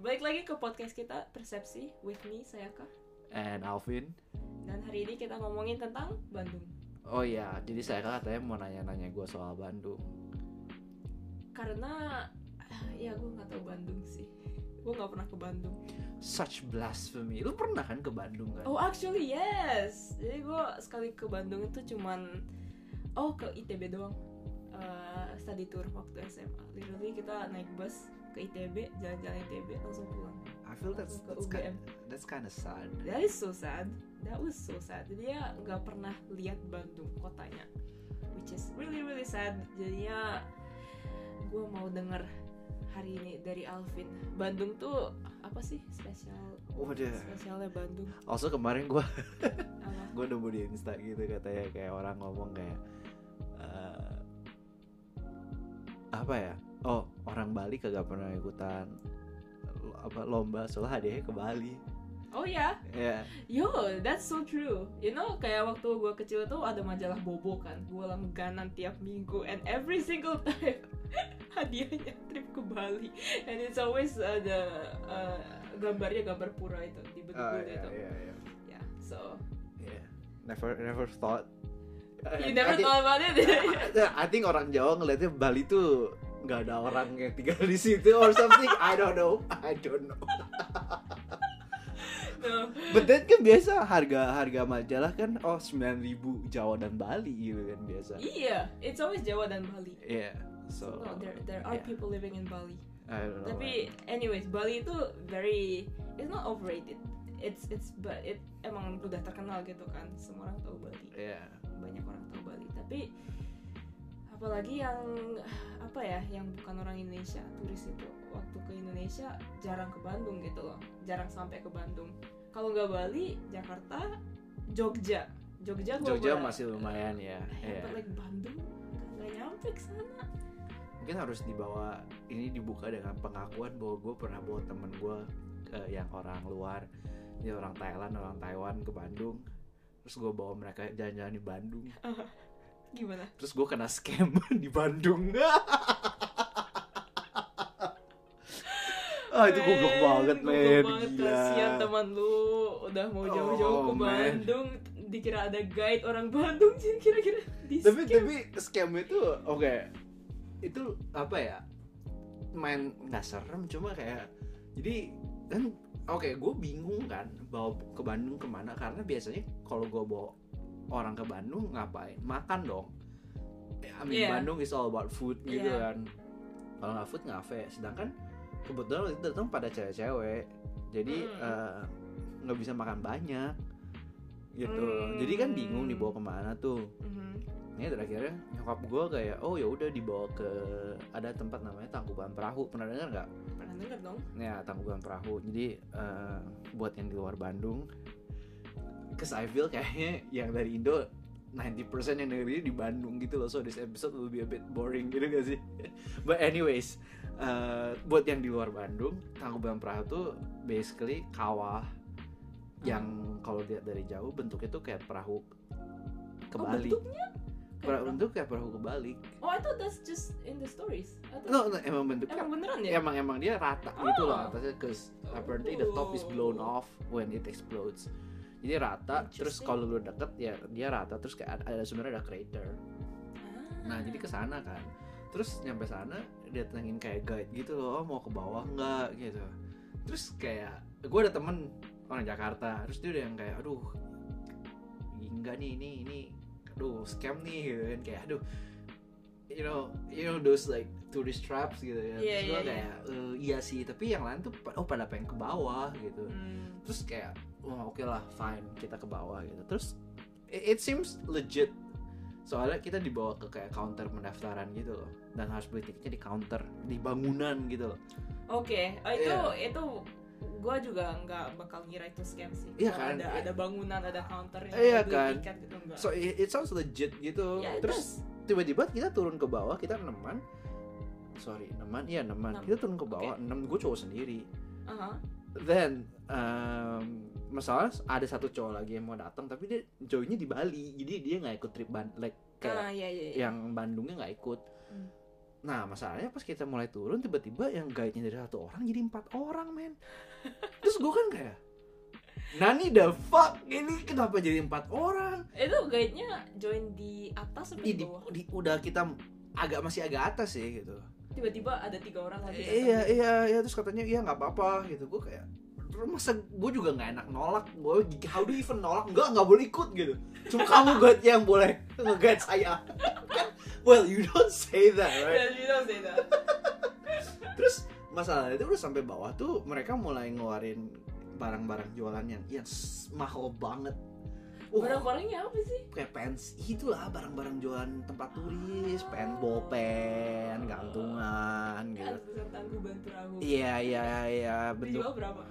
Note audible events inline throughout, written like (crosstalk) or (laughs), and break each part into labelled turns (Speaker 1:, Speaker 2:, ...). Speaker 1: Balik lagi ke podcast kita Persepsi with me Sayaka.
Speaker 2: and Alvin.
Speaker 1: Dan hari ini kita ngomongin tentang Bandung.
Speaker 2: Oh iya, jadi saya katanya mau nanya-nanya gue soal Bandung.
Speaker 1: Karena ah, ya gue nggak tahu Bandung sih. Gue nggak pernah ke Bandung.
Speaker 2: Such blasphemy. Lu pernah kan ke Bandung kan?
Speaker 1: Oh actually yes. Jadi gue sekali ke Bandung itu cuman oh ke ITB doang. Eh, study tour waktu SMA. Literally kita naik bus ke ITB, jalan-jalan ITB langsung pulang.
Speaker 2: I feel that's
Speaker 1: Ke
Speaker 2: that's kind
Speaker 1: UGM.
Speaker 2: that's kind of sad.
Speaker 1: That is so sad. That was so sad. Dia nggak pernah lihat Bandung kotanya, which is really really sad. Jadinya gue mau denger hari ini dari Alvin. Bandung tuh apa sih spesial
Speaker 2: Oh deh.
Speaker 1: spesialnya Bandung?
Speaker 2: Also kemarin gue
Speaker 1: Apa?
Speaker 2: gue nemu di Insta gitu katanya kayak orang ngomong kayak eh, apa ya? Oh orang Bali kagak pernah ikutan lo- apa lomba soalnya hadiahnya ke Bali.
Speaker 1: Oh ya,
Speaker 2: Ya.
Speaker 1: yo that's so true. You know kayak waktu gue kecil tuh ada majalah Bobo kan, gue langganan tiap minggu and every single time (laughs) hadiahnya trip ke Bali and it's always ada uh, gambarnya gambar pura itu di bentuk
Speaker 2: Ah,
Speaker 1: bulat
Speaker 2: iya,
Speaker 1: itu.
Speaker 2: iya, iya.
Speaker 1: Yeah, so
Speaker 2: Yeah. Never never thought.
Speaker 1: you never
Speaker 2: I thi-
Speaker 1: thought about it.
Speaker 2: I think orang Jawa ngelihatnya Bali tuh nggak ada orang yang tinggal di situ or something. I don't know. I don't know.
Speaker 1: (laughs) no.
Speaker 2: But that kan biasa harga harga majalah kan oh 9000 Jawa dan Bali gitu kan biasa.
Speaker 1: Iya, it's always Jawa dan Bali.
Speaker 2: Yeah. So
Speaker 1: No, there there are
Speaker 2: yeah.
Speaker 1: people living in Bali.
Speaker 2: I don't know.
Speaker 1: Tapi anyways, Bali itu very it's not overrated. It's it's but it emang udah terkenal gitu kan. Semua orang tahu Bali.
Speaker 2: yeah.
Speaker 1: Banyak orang tahu Bali. Tapi apalagi yang apa ya yang bukan orang Indonesia turis itu waktu ke Indonesia jarang ke Bandung gitu loh jarang sampai ke Bandung kalau nggak Bali Jakarta Jogja Jogja gua
Speaker 2: Jogja
Speaker 1: ber-
Speaker 2: masih lumayan ya.
Speaker 1: Yeah.
Speaker 2: Yeah.
Speaker 1: But like Bandung nggak- nggak nyampe ke sana.
Speaker 2: Mungkin harus dibawa ini dibuka dengan pengakuan bahwa gue pernah bawa temen gue yang orang luar, dia orang Thailand, orang Taiwan ke Bandung. Terus gue bawa mereka jalan-jalan di Bandung.
Speaker 1: Gimana?
Speaker 2: terus gue kena scam (laughs) di Bandung (laughs) ah itu goblok
Speaker 1: Men,
Speaker 2: banget men
Speaker 1: Eh,
Speaker 2: Iya.
Speaker 1: goblok banget,
Speaker 2: gila
Speaker 1: Kasihan teman lu udah mau jauh-jauh ke
Speaker 2: Oh, man.
Speaker 1: Bandung, dikira ada guide orang Bandung (laughs) jadi kira-kira di
Speaker 2: tapi tapi scam itu oke itu apa ya main nggak serem cuma kayak jadi kan oke gue bingung kan bawa ke Bandung kemana karena biasanya kalau gue bawa orang ke Bandung ngapain makan dong I mean
Speaker 1: Yeah.
Speaker 2: Bandung is all about food gitu
Speaker 1: Yeah.
Speaker 2: kan kalau nggak food ngafe sedangkan kebetulan waktu itu datang pada cewek-cewek jadi
Speaker 1: Mm.
Speaker 2: eh, nggak bisa makan banyak gitu jadi kan bingung
Speaker 1: Mm.
Speaker 2: dibawa kemana tuh
Speaker 1: Mhm.
Speaker 2: ini terakhirnya nyokap gue kayak oh ya udah dibawa ke ada tempat namanya tangkuban perahu pernah dengar nggak?
Speaker 1: Pernah denger dong?
Speaker 2: Ya tangkuban perahu jadi eh, buat yang di luar Bandung, cause I feel kayaknya yang dari Indo 90% yang negeri di Bandung gitu loh so this episode will be a bit boring gitu gak sih? (laughs) But anyways eh, buat yang di luar Bandung tangkuban perahu tuh basically kawah yang kalau lihat dari jauh bentuknya tuh kayak perahu kebalik.
Speaker 1: Oh, bentuknya? Kayak
Speaker 2: Perahu
Speaker 1: orang-
Speaker 2: bentuk kayak perahu kebalik.
Speaker 1: Oh, I thought that's just in the stories. I thought-
Speaker 2: No, no, emang bentuknya
Speaker 1: Emang beneran ya?
Speaker 2: emang emang dia rata gitu loh
Speaker 1: Oh.
Speaker 2: atasnya cause apparently the top is blown off when it explodes. Jadi rata, terus
Speaker 1: Interesting.
Speaker 2: kalau lu deket ya dia rata terus kayak ada, ada sebenarnya ada crater.
Speaker 1: Ah.
Speaker 2: Nah, jadi ke sana kan. Terus nyampe sana dia datengin kayak guide gitu loh, oh, mau ke bawah nggak gitu. Terus kayak gue ada temen orang Jakarta, terus dia udah yang kayak aduh enggak nih ini ini aduh scam nih gitu kan kayak aduh you know you know those like tourist traps gitu
Speaker 1: Iya,
Speaker 2: ya terus gue
Speaker 1: iya, iya.
Speaker 2: kayak "Eh, iya sih tapi yang lain tuh pa- oh pada pengen ke bawah gitu
Speaker 1: Hmm.
Speaker 2: terus kayak oh, oke lah fine kita ke bawah gitu terus it, it seems legit soalnya kita dibawa ke kayak counter pendaftaran gitu loh dan harus beli tiketnya di counter di bangunan gitu loh
Speaker 1: Oke, oh, itu
Speaker 2: Iya.
Speaker 1: itu gue juga nggak bakal ngira itu scam sih.
Speaker 2: Iya
Speaker 1: Kalau
Speaker 2: kan?
Speaker 1: Ada ada bangunan, ada counternya,
Speaker 2: Iya
Speaker 1: beli
Speaker 2: kan?
Speaker 1: tiket gitu enggak.
Speaker 2: so it, it sounds legit gitu
Speaker 1: Ya, it
Speaker 2: terus tiba-tiba kita turun ke bawah kita neman sorry neman iya neman
Speaker 1: Enam.
Speaker 2: kita turun ke bawah enam gue cowok sendiri
Speaker 1: Aha.
Speaker 2: then um, masalah ada satu cowok lagi yang mau datang tapi dia joinnya di Bali jadi dia nggak ikut trip ban like
Speaker 1: Ah,
Speaker 2: kayak
Speaker 1: iya, iya, iya.
Speaker 2: yang Bandungnya nggak ikut
Speaker 1: Hmm.
Speaker 2: Nah masalahnya pas kita mulai turun tiba-tiba yang guide-nya dari satu orang jadi empat orang men Terus gue kan kayak Nani the fuck ini kenapa jadi empat orang
Speaker 1: itu guide-nya join di atas sampai di
Speaker 2: Ih, Iya. di,
Speaker 1: bawah
Speaker 2: di- udah kita agak masih agak atas sih gitu
Speaker 1: tiba-tiba ada tiga orang lagi datang.
Speaker 2: iya iya iya terus katanya iya nggak apa-apa gitu gue kayak "Terus masa gue juga nggak enak nolak gue how do you even nolak nggak nggak boleh ikut gitu cuma kamu guide yang boleh ngeguide saya (laughs) Kan, well you don't say that
Speaker 1: Dan
Speaker 2: right
Speaker 1: you know, Zeta.
Speaker 2: terus masalahnya itu udah sampai bawah tuh mereka mulai ngeluarin barang-barang jualan yang yang s- mahal banget Uh,
Speaker 1: Barang-barangnya apa sih?
Speaker 2: kayak pens itulah barang-barang jualan tempat turis pen bolpen gantungan gitu
Speaker 1: Kan besar tangguh bantu ragu.
Speaker 2: iya iya iya bentuk
Speaker 1: Dijual berapa?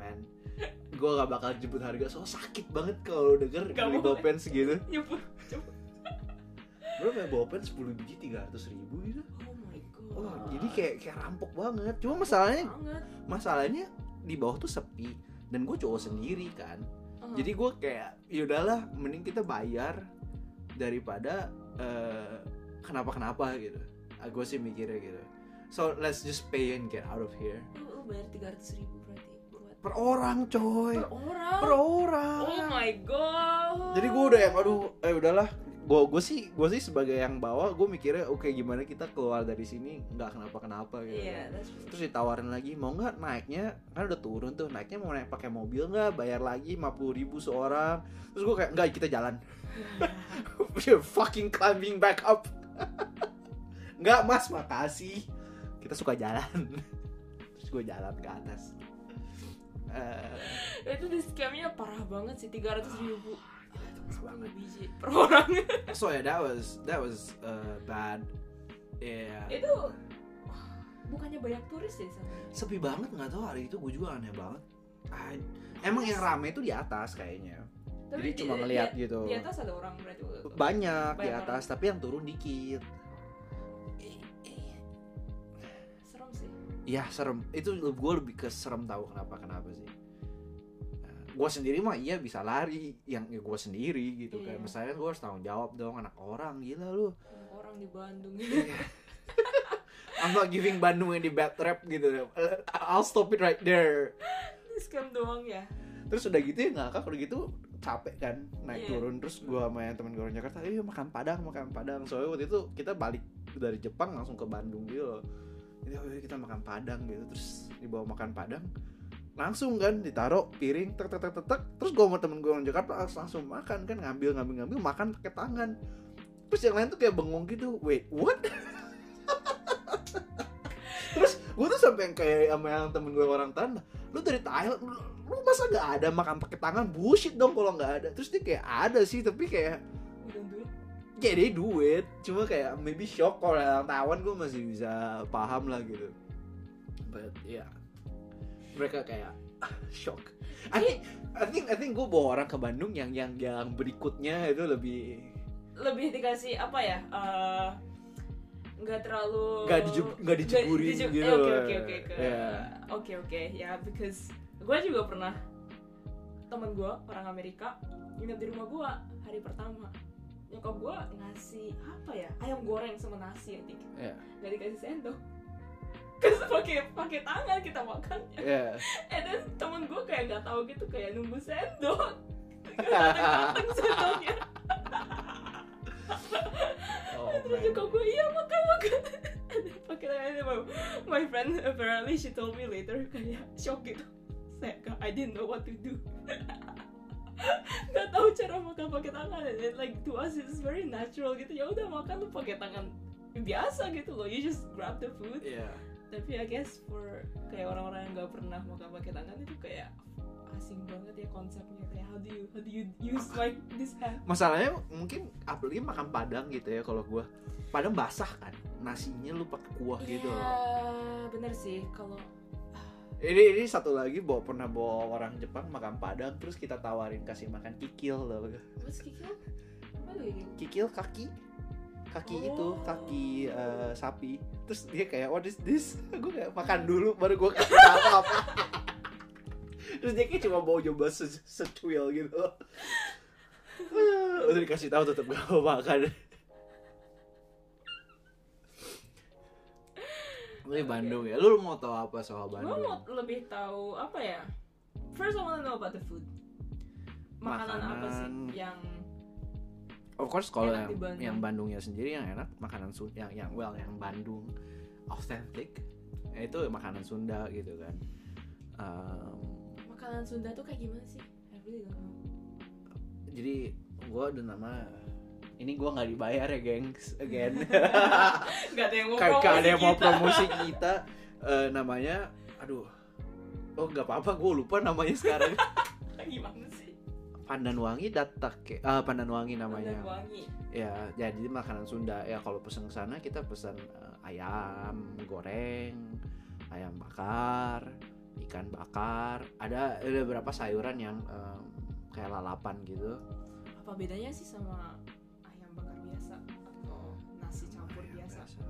Speaker 2: man gue gak bakal jemput harga so sakit banget kalau denger
Speaker 1: Gak
Speaker 2: beli gitu.
Speaker 1: boleh.
Speaker 2: bolpen segitu
Speaker 1: Nyebut.
Speaker 2: bro kayak bolpen 10 biji 300 ribu gitu
Speaker 1: Oh my god.
Speaker 2: oh, jadi kayak kayak rampok banget cuma masalahnya
Speaker 1: banget.
Speaker 2: masalahnya di bawah tuh sepi dan gue cowok sendiri kan
Speaker 1: Uh-huh.
Speaker 2: jadi gue kayak yaudahlah mending kita bayar daripada eh, kenapa-kenapa gitu gue sih mikirnya gitu so let's just pay and get out of here
Speaker 1: lu, lu bayar 300 ribu berarti buat
Speaker 2: per orang coy
Speaker 1: per orang.
Speaker 2: per orang
Speaker 1: Oh my god.
Speaker 2: jadi gue udah yang aduh eh udahlah gue gue sih gue sih sebagai yang bawa gue mikirnya oke gimana kita keluar dari sini nggak kenapa kenapa gitu
Speaker 1: Iya, that's true.
Speaker 2: terus ditawarin lagi mau nggak naiknya kan udah turun tuh naiknya mau naik pakai mobil nggak bayar lagi 50.000 ribu seorang terus gue kayak nggak kita jalan (laughs) We're fucking climbing back up (laughs) nggak mas makasih kita suka jalan (laughs) terus gue jalan ke atas Eh,
Speaker 1: Itu di scamnya parah banget sih 300 ribu.
Speaker 2: gila, itu parah banget.
Speaker 1: biji per orang.
Speaker 2: so yeah that was that was uh, bad yeah
Speaker 1: itu wah, bukannya banyak turis ya di sana?
Speaker 2: sepi banget nggak tahu hari itu gue juga aneh banget Ah, emang yang rame itu di atas kayaknya
Speaker 1: Tapi
Speaker 2: jadi
Speaker 1: di-
Speaker 2: cuma
Speaker 1: di-
Speaker 2: ngeliat
Speaker 1: di,
Speaker 2: gitu
Speaker 1: di atas ada orang berarti waktu itu.
Speaker 2: banyak di
Speaker 1: Banyak
Speaker 2: atas tapi yang turun dikit
Speaker 1: Serem sih.
Speaker 2: ya serem itu gue lebih ke serem tahu kenapa kenapa sih gue sendiri mah iya bisa lari yang ya gue sendiri gitu
Speaker 1: Iya.
Speaker 2: kayak misalnya gue harus tanggung jawab dong anak orang gila lu (laughs)
Speaker 1: Banyak Orang di Bandung.
Speaker 2: I'm not giving Bandung any bad rap gitu I'll stop it right there
Speaker 1: Scam doang ya.
Speaker 2: terus udah gitu ya ngakak udah gitu capek kan naik
Speaker 1: Iya.
Speaker 2: turun terus gua sama yang temen gue orang Jakarta ayo makan padang makan padang soalnya waktu itu kita balik dari Jepang langsung ke Bandung gitu loh jadi ayo kita makan padang gitu terus dibawa makan padang langsung kan ditaruh piring tek tek tek tek, tek. terus gua sama temen gue orang Jakarta langsung, langsung makan kan ngambil ngambil ngambil makan pakai tangan terus yang lain tuh kayak bengong gitu wait what (laughs) terus gue tuh sampai yang kayak sama yang temen gue orang tanah lu dari Thailand lu, lu masa nggak ada makan pakai tangan bullshit dong kalau nggak ada terus dia kayak ada sih tapi kayak
Speaker 1: Udah duit.
Speaker 2: ya dia duit cuma kayak maybe shock kalau yang tawan gue masih bisa paham lah gitu but ya mereka kayak (laughs) ah, shock I think I think I think gue bawa orang ke Bandung yang yang yang berikutnya itu lebih
Speaker 1: Lebih dikasih apa ya? eh, nggak terlalu
Speaker 2: Nggak dijeb- nggak
Speaker 1: Oh.
Speaker 2: dijeburin
Speaker 1: Nggak dijeb-
Speaker 2: gitu
Speaker 1: eh, oke
Speaker 2: loh.
Speaker 1: oke oke oke
Speaker 2: Iya.
Speaker 1: oke oke ya because gue juga pernah temen gue orang Amerika nginep di rumah gue hari pertama nyokap gue ngasih apa ya ayam goreng sama nasi ya think
Speaker 2: ya
Speaker 1: nggak dikasih sendok (laughs) terus pakai pakai tangan kita makan (laughs)
Speaker 2: ya
Speaker 1: and then temen gue kayak nggak tahu gitu kayak nunggu sendok
Speaker 2: (laughs)
Speaker 1: Dateng-dateng sendoknya
Speaker 2: (laughs) oh
Speaker 1: terus juga gue iya makan makan pakai tangan my, my friend apparently she told me later kayak shock gitu saya kayak, I didn't know what to do (laughs) nggak tahu cara makan pakai tangan and then, like to us it's very natural gitu ya udah makan lu pakai tangan biasa gitu loh you just grab the food
Speaker 2: ya
Speaker 1: tapi I guess for kayak orang-orang yang nggak pernah makan pakai tangan itu kayak asing banget ya konsepnya kayak how do you how do you use like this hand
Speaker 2: masalahnya mungkin apalagi makan padang gitu ya kalau gua padang basah kan nasinya lu pakai kuah
Speaker 1: Iya.
Speaker 2: gitu loh.
Speaker 1: bener sih kalau
Speaker 2: ini ini satu lagi bawa pernah bawa orang Jepang makan padang terus kita tawarin kasih makan kikil loh
Speaker 1: what's kikil apa lagi
Speaker 2: kikil kaki kaki
Speaker 1: Oh.
Speaker 2: itu kaki eh, sapi terus dia kayak what is this (laughs) gue kayak makan dulu baru gue kasih apa apa terus dia kayak cuma mau coba se secuil gitu (laughs) loh. udah dikasih tahu tetap gak mau makan Tapi Bandung ya. Lu mau tahu apa soal
Speaker 1: Gue
Speaker 2: Bandung?
Speaker 1: mau lebih tahu apa ya? First I wanna know about the food. Makanan, apa sih
Speaker 2: Makanan.
Speaker 1: yang
Speaker 2: Of course kalau
Speaker 1: Enak
Speaker 2: yang
Speaker 1: di Bandung.
Speaker 2: yang Bandungnya sendiri yang enak makanan Sunda yang yang well yang Bandung authentic ya itu makanan Sunda gitu kan. Um,
Speaker 1: makanan Sunda tuh kayak gimana sih? I really don't know.
Speaker 2: jadi gue udah nama ini gue nggak dibayar ya gengs
Speaker 1: (laughs)
Speaker 2: again (laughs)
Speaker 1: Gak ada yang mau
Speaker 2: Kagak
Speaker 1: promosi
Speaker 2: ada yang mau
Speaker 1: kita.
Speaker 2: promosi kita Eh, namanya aduh oh nggak apa-apa gue lupa namanya
Speaker 1: (laughs)
Speaker 2: sekarang
Speaker 1: Gimana sih?
Speaker 2: Pandanwangi datake ah Pandanwangi namanya
Speaker 1: Pandan wangi.
Speaker 2: ya jadi makanan Sunda ya kalau pesen ke sana kita pesan eh, ayam goreng ayam bakar ikan bakar ada ada beberapa sayuran yang eh, kayak lalapan gitu
Speaker 1: Apa bedanya sih sama ayam bakar biasa atau nasi campur
Speaker 2: Ayam
Speaker 1: biasa?
Speaker 2: biasa.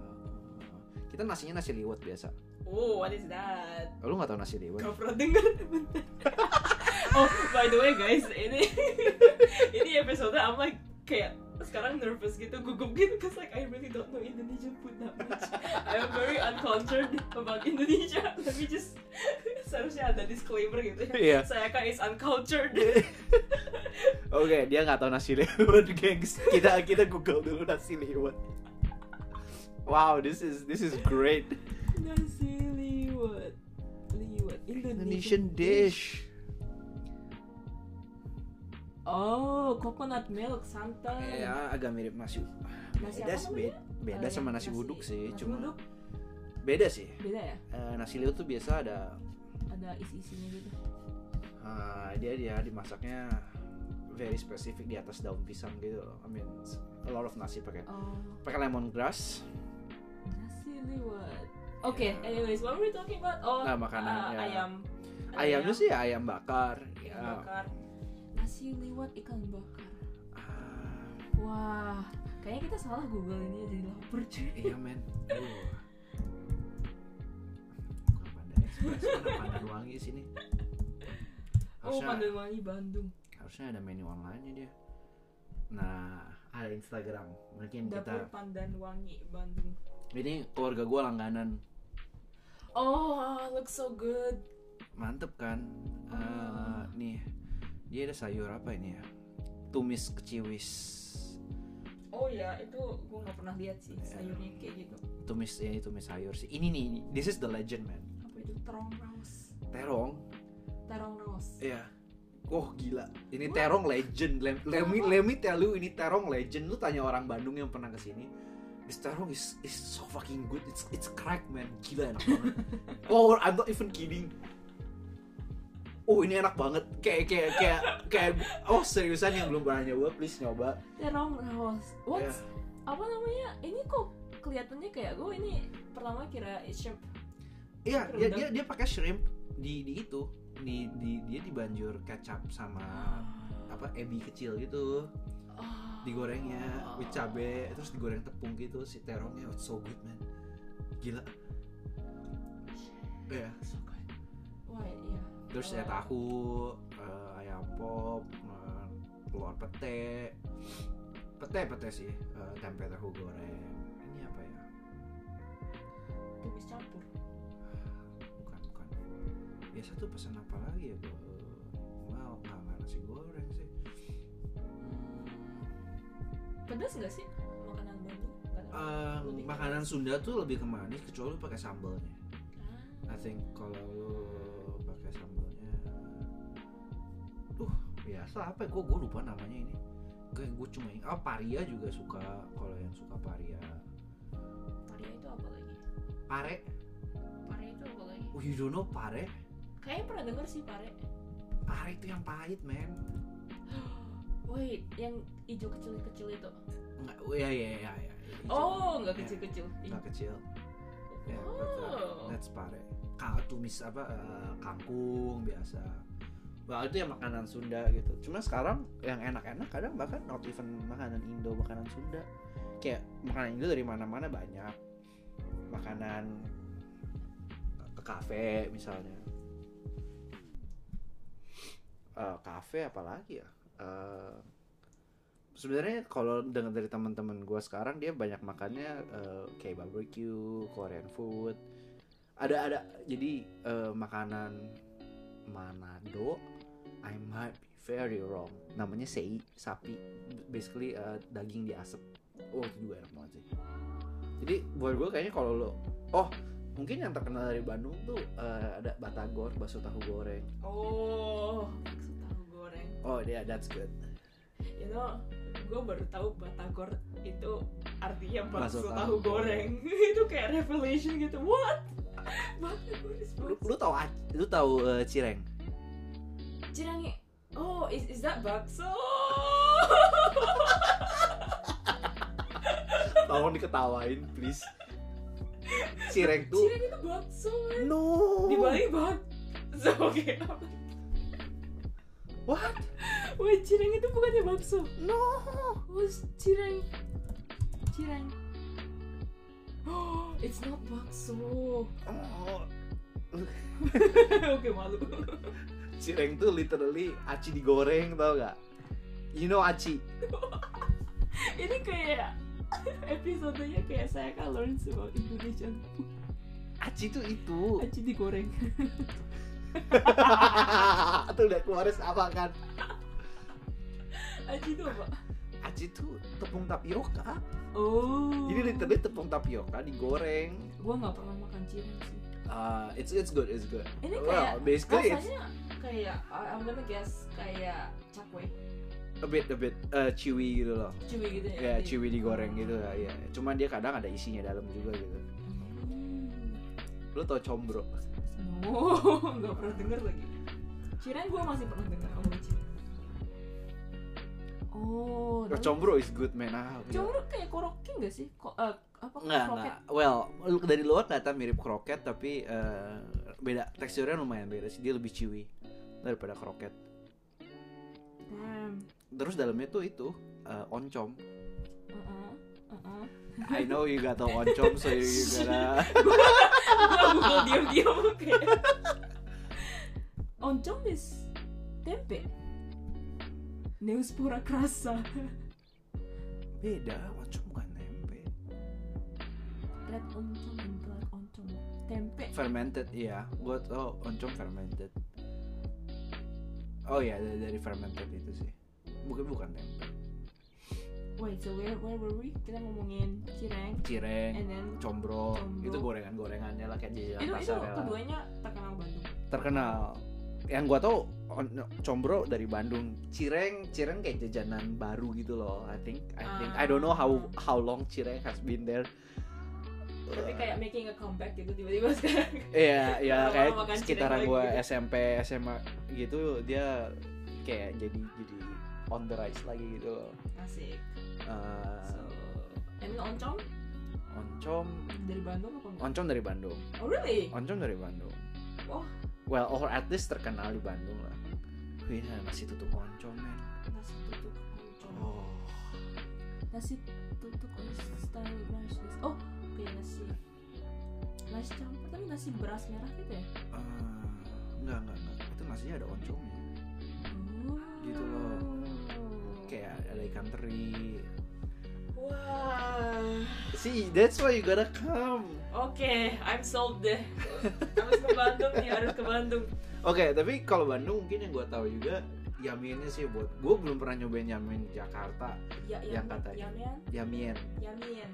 Speaker 2: kita nasinya nasi liwet biasa
Speaker 1: Oh, what is that?
Speaker 2: lu nggak tahu nasi liwet
Speaker 1: Gak pernah denger bentar. Oh by the way guys Ini Ini episode I'm like Kayak sekarang nervous gitu gugup gitu Cause like I really don't know Indonesian food that much I am very uncultured about Indonesia Let me just Seharusnya ada disclaimer gitu ya
Speaker 2: iya
Speaker 1: Saya kan is
Speaker 2: (laughs)
Speaker 1: uncultured
Speaker 2: oke dia nggak tahu nasi (laughs) liwet gengs kita kita google dulu nasi liwet wow this is this is great
Speaker 1: Nasi liwet Liwet
Speaker 2: Indonesian dish
Speaker 1: Oh coconut milk santai
Speaker 2: ya agak mirip nasi
Speaker 1: Nasi apa
Speaker 2: beda sih,
Speaker 1: namanya?
Speaker 2: beda, beda
Speaker 1: Eh,
Speaker 2: sama nasi uduk sih
Speaker 1: nasi
Speaker 2: cuma
Speaker 1: uduk
Speaker 2: beda sih
Speaker 1: beda ya
Speaker 2: Eh, nasi liwet tuh biasa ada
Speaker 1: ada isi-isinya gitu
Speaker 2: eh, dia dia dimasaknya very specific di atas daun pisang gitu loh. I mean a lot of nasi pakai
Speaker 1: Oh
Speaker 2: pakai lemongrass
Speaker 1: Nasi liwet. Oke,
Speaker 2: Ya.
Speaker 1: anyways, what were we talking about? Oh,
Speaker 2: Nah, makanan,
Speaker 1: uh,
Speaker 2: ya.
Speaker 1: ayam.
Speaker 2: ayamnya sih ayam bakar
Speaker 1: Ikan
Speaker 2: ya
Speaker 1: bakar. Nasi liwet ikan bakar.
Speaker 2: Ah,
Speaker 1: Wah, kayaknya kita salah Google ini ya, jadi lapar cuy.
Speaker 2: iya men Aduh. Bukan Pandan Express, mana Pandan Wangi sini
Speaker 1: (laughs) Oh,
Speaker 2: Harusnya-
Speaker 1: Pandan Wangi Bandung.
Speaker 2: harusnya ada menu online-nya dia. Nah, ada Instagram. Mungkin
Speaker 1: Dapur
Speaker 2: kita
Speaker 1: Pandan Wangi Bandung.
Speaker 2: ini keluarga gue langganan.
Speaker 1: Oh, ah, looks so good.
Speaker 2: Mantep kan? Eh,
Speaker 1: Ah.
Speaker 2: nih. Dia ada sayur apa ini ya? Tumis keciwis.
Speaker 1: Oh ya, itu gue nggak pernah lihat sih
Speaker 2: Iya.
Speaker 1: sayurnya kayak gitu.
Speaker 2: Tumis ini tumis sayur sih. Ini nih, this is the legend man.
Speaker 1: Apa itu terong raus?
Speaker 2: Terong.
Speaker 1: Terong raus.
Speaker 2: Iya. Oh gila, ini terong legend. Lem- Let, me, let me tell you, ini terong legend. Lu tanya orang Bandung yang pernah kesini, this terong is is so fucking good. It's it's crack man, gila enak (laughs) banget. oh, I'm not even kidding. Oh ini enak banget, kayak kayak kayak kayak. Oh seriusan yang belum pernah nyoba, please nyoba.
Speaker 1: Terong raus. What?
Speaker 2: Iya.
Speaker 1: Apa namanya? Ini kok kelihatannya kayak gue ini pertama kira shrimp
Speaker 2: Iya, dia dia dia pakai shrimp di di itu, di di dia dibanjur kecap sama apa ebi kecil gitu.
Speaker 1: Ah." Oh.
Speaker 2: digorengnya with cabe terus digoreng tepung gitu si terongnya it's so good man gila ya
Speaker 1: Wah, iya.
Speaker 2: terus ya tahu eh, ayam pop eh, telur pete pete pete sih eh, tempe tahu goreng ini apa ya
Speaker 1: Tumis campur.
Speaker 2: bukan bukan biasa tuh pesan apa lagi ya gua wow nggak nggak nasi goreng sih Hmm,
Speaker 1: Pedas nggak sih makanan Bandung? Nggak tahu.
Speaker 2: eh,
Speaker 1: Lebih
Speaker 2: makanan
Speaker 1: pedas.
Speaker 2: Sunda tuh lebih ke manis kecuali lu pakai sambalnya
Speaker 1: Ah.
Speaker 2: I think kalau lu pakai sambalnya Duh, biasa apa ya? Gue lupa namanya ini Kayak gue cuma ingat, ah paria juga suka Kalau yang suka paria
Speaker 1: Pare itu apa lagi?
Speaker 2: Pare?
Speaker 1: Pare itu apa lagi?
Speaker 2: Oh you don't know pare?
Speaker 1: Kayaknya pernah denger sih pare.
Speaker 2: Pare itu yang pahit men
Speaker 1: Wait, yang hijau kecil-kecil itu.
Speaker 2: Nggak, oh ya ya ya ya
Speaker 1: Oh, nggak
Speaker 2: Iya,
Speaker 1: kecil-kecil.
Speaker 2: nggak kecil Ya,
Speaker 1: Oh.
Speaker 2: betul. That's pare Kalau tumis apa, eh, kangkung biasa Wah itu yang makanan Sunda gitu Cuma sekarang yang enak-enak kadang bahkan not even makanan Indo, makanan Sunda Kayak makanan Indo dari mana-mana banyak Makanan ke kafe misalnya Eh, Kafe apalagi ya Eh, Sebenarnya kalau dengar dari teman-teman gua sekarang dia banyak makannya eh, kayak barbecue, Korean food, ada ada jadi eh, makanan Manado I might be very wrong namanya sei sapi basically eh, daging diasap oh itu juga enak banget sih jadi buat gue kayaknya kalau lo oh mungkin yang terkenal dari Bandung tuh eh, ada batagor bakso tahu goreng
Speaker 1: Oh, bakso tahu goreng.
Speaker 2: oh yeah that's good
Speaker 1: You know, gue baru tahu batagor itu artinya
Speaker 2: Bakso
Speaker 1: bakso
Speaker 2: tahu
Speaker 1: tahu goreng. (laughs) itu kayak revelation gitu. What? Batagor is
Speaker 2: lu,
Speaker 1: bakso.
Speaker 2: lu tahu ac- lu tahu eh, cireng
Speaker 1: Jirangi. Oh, is is that
Speaker 2: (laughs)
Speaker 1: bakso?
Speaker 2: tolong diketawain please cireng tuh
Speaker 1: Jirangi itu bakso. man.
Speaker 2: no
Speaker 1: Di Bali (laughs) bakso. Oke. apa?
Speaker 2: what
Speaker 1: Wah, cireng itu bukannya bakso.
Speaker 2: no
Speaker 1: Who's cireng? Cireng. Oh, (gasps) it's not bakso. (laughs)
Speaker 2: Oh,
Speaker 1: Oke, malu. (laughs)
Speaker 2: cireng tuh literally aci digoreng tau gak? You know aci?
Speaker 1: Ini kayak episodenya kayak saya kan learn about Indonesian
Speaker 2: Aci tuh
Speaker 1: (laughs)
Speaker 2: itu.
Speaker 1: aci digoreng.
Speaker 2: tuh udah keluarin apa kan?
Speaker 1: Aci itu apa?
Speaker 2: Aci tuh tepung tapioka.
Speaker 1: Oh.
Speaker 2: Jadi literally tepung tapioka digoreng.
Speaker 1: Gua nggak pernah makan cireng sih.
Speaker 2: Uh, it's it's good, it's good.
Speaker 1: Ini
Speaker 2: Well,
Speaker 1: kayak
Speaker 2: basically it's
Speaker 1: rasanya kayak I- I'm gonna guess kayak cakwe,
Speaker 2: a bit a bit uh, chewy gitu loh.
Speaker 1: cuy gitu
Speaker 2: Ya,
Speaker 1: ya. Jadi-
Speaker 2: chewy digoreng gitu lah, ya. Cuman dia kadang ada isinya dalam juga gitu.
Speaker 1: Hmm.
Speaker 2: Lu tau combro?
Speaker 1: No, (laughs) nggak pernah denger lagi. Cireng gue masih pernah dengar sama cireng. Oh,
Speaker 2: Oh, combro is good man. Ah, gila.
Speaker 1: Cuma kayak koroki nggak sih? Ko eh, apa
Speaker 2: Enggak,
Speaker 1: kroket?
Speaker 2: enggak. Well, lu- dari luar kelihatan mirip kroket tapi eh, beda teksturnya lumayan beda sih. Dia lebih chewy daripada kroket.
Speaker 1: Hmm,
Speaker 2: Terus dalamnya tuh itu eh, oncom.
Speaker 1: uh-uh, uh-uh.
Speaker 2: I
Speaker 1: (laughs)
Speaker 2: know you gak tau oncom so you, you gotta
Speaker 1: Gua Google diam-diam kayak. Oncom is tempe. Neuspora krasa.
Speaker 2: (laughs) beda oncom bukan tempe.
Speaker 1: Red oncom and black oncom. Tempe.
Speaker 2: Fermented iya. Gua tau oncom fermented. Oh iya dari, dari fermented itu sih. Bukan bukan tempe.
Speaker 1: Wait, so where where were we? Kita ngomongin cireng
Speaker 2: Cireng,
Speaker 1: and then
Speaker 2: combro,
Speaker 1: Combro.
Speaker 2: itu gorengan-gorengannya lah kayak jajanan
Speaker 1: itu itu
Speaker 2: pasar ya lah.
Speaker 1: keduanya terkenal Bandung.
Speaker 2: terkenal yang gua tau on- combro dari Bandung cireng cireng kayak jajanan baru gitu loh I think I think I don't know how how long cireng has been there
Speaker 1: Tapi kayak making a comeback gitu tiba-tiba sekarang.
Speaker 2: Iya, iya
Speaker 1: Lama-lama
Speaker 2: kayak
Speaker 1: makan cireng
Speaker 2: sekitaran
Speaker 1: lagi
Speaker 2: gua
Speaker 1: gitu.
Speaker 2: SMP, SMA gitu dia kayak jadi jadi on the rise lagi gitu loh.
Speaker 1: Asik.
Speaker 2: Eh,
Speaker 1: So, and oncom
Speaker 2: oncom,
Speaker 1: dari Bandung apa enggak?
Speaker 2: oncom dari Bandung.
Speaker 1: Oh really?
Speaker 2: Oncom dari Bandung.
Speaker 1: Oh.
Speaker 2: Well, or at least terkenal di Bandung lah. Wih, masih tutup oncom, men.
Speaker 1: Nasi tutuk oncom.
Speaker 2: Oh.
Speaker 1: Nasi tutuk oncom style rice. is- Oh, kayak nasi nasi campur tapi nasi beras merah gitu ya?
Speaker 2: Eh, enggak enggak enggak itu nasinya ada oncomnya Gitu loh. kayak ada ikan teri
Speaker 1: Wah.
Speaker 2: see that's why you gotta come
Speaker 1: Oke, I'm sold
Speaker 2: (laughs)
Speaker 1: deh. harus ke Bandung nih, harus ke Bandung.
Speaker 2: oke tapi kalau Bandung mungkin yang gue tahu juga yamiennya sih buat gue belum pernah nyobain yamin Jakarta
Speaker 1: Ya,
Speaker 2: Yang Eh. katanya.
Speaker 1: Yamian,
Speaker 2: yamien
Speaker 1: Yamian.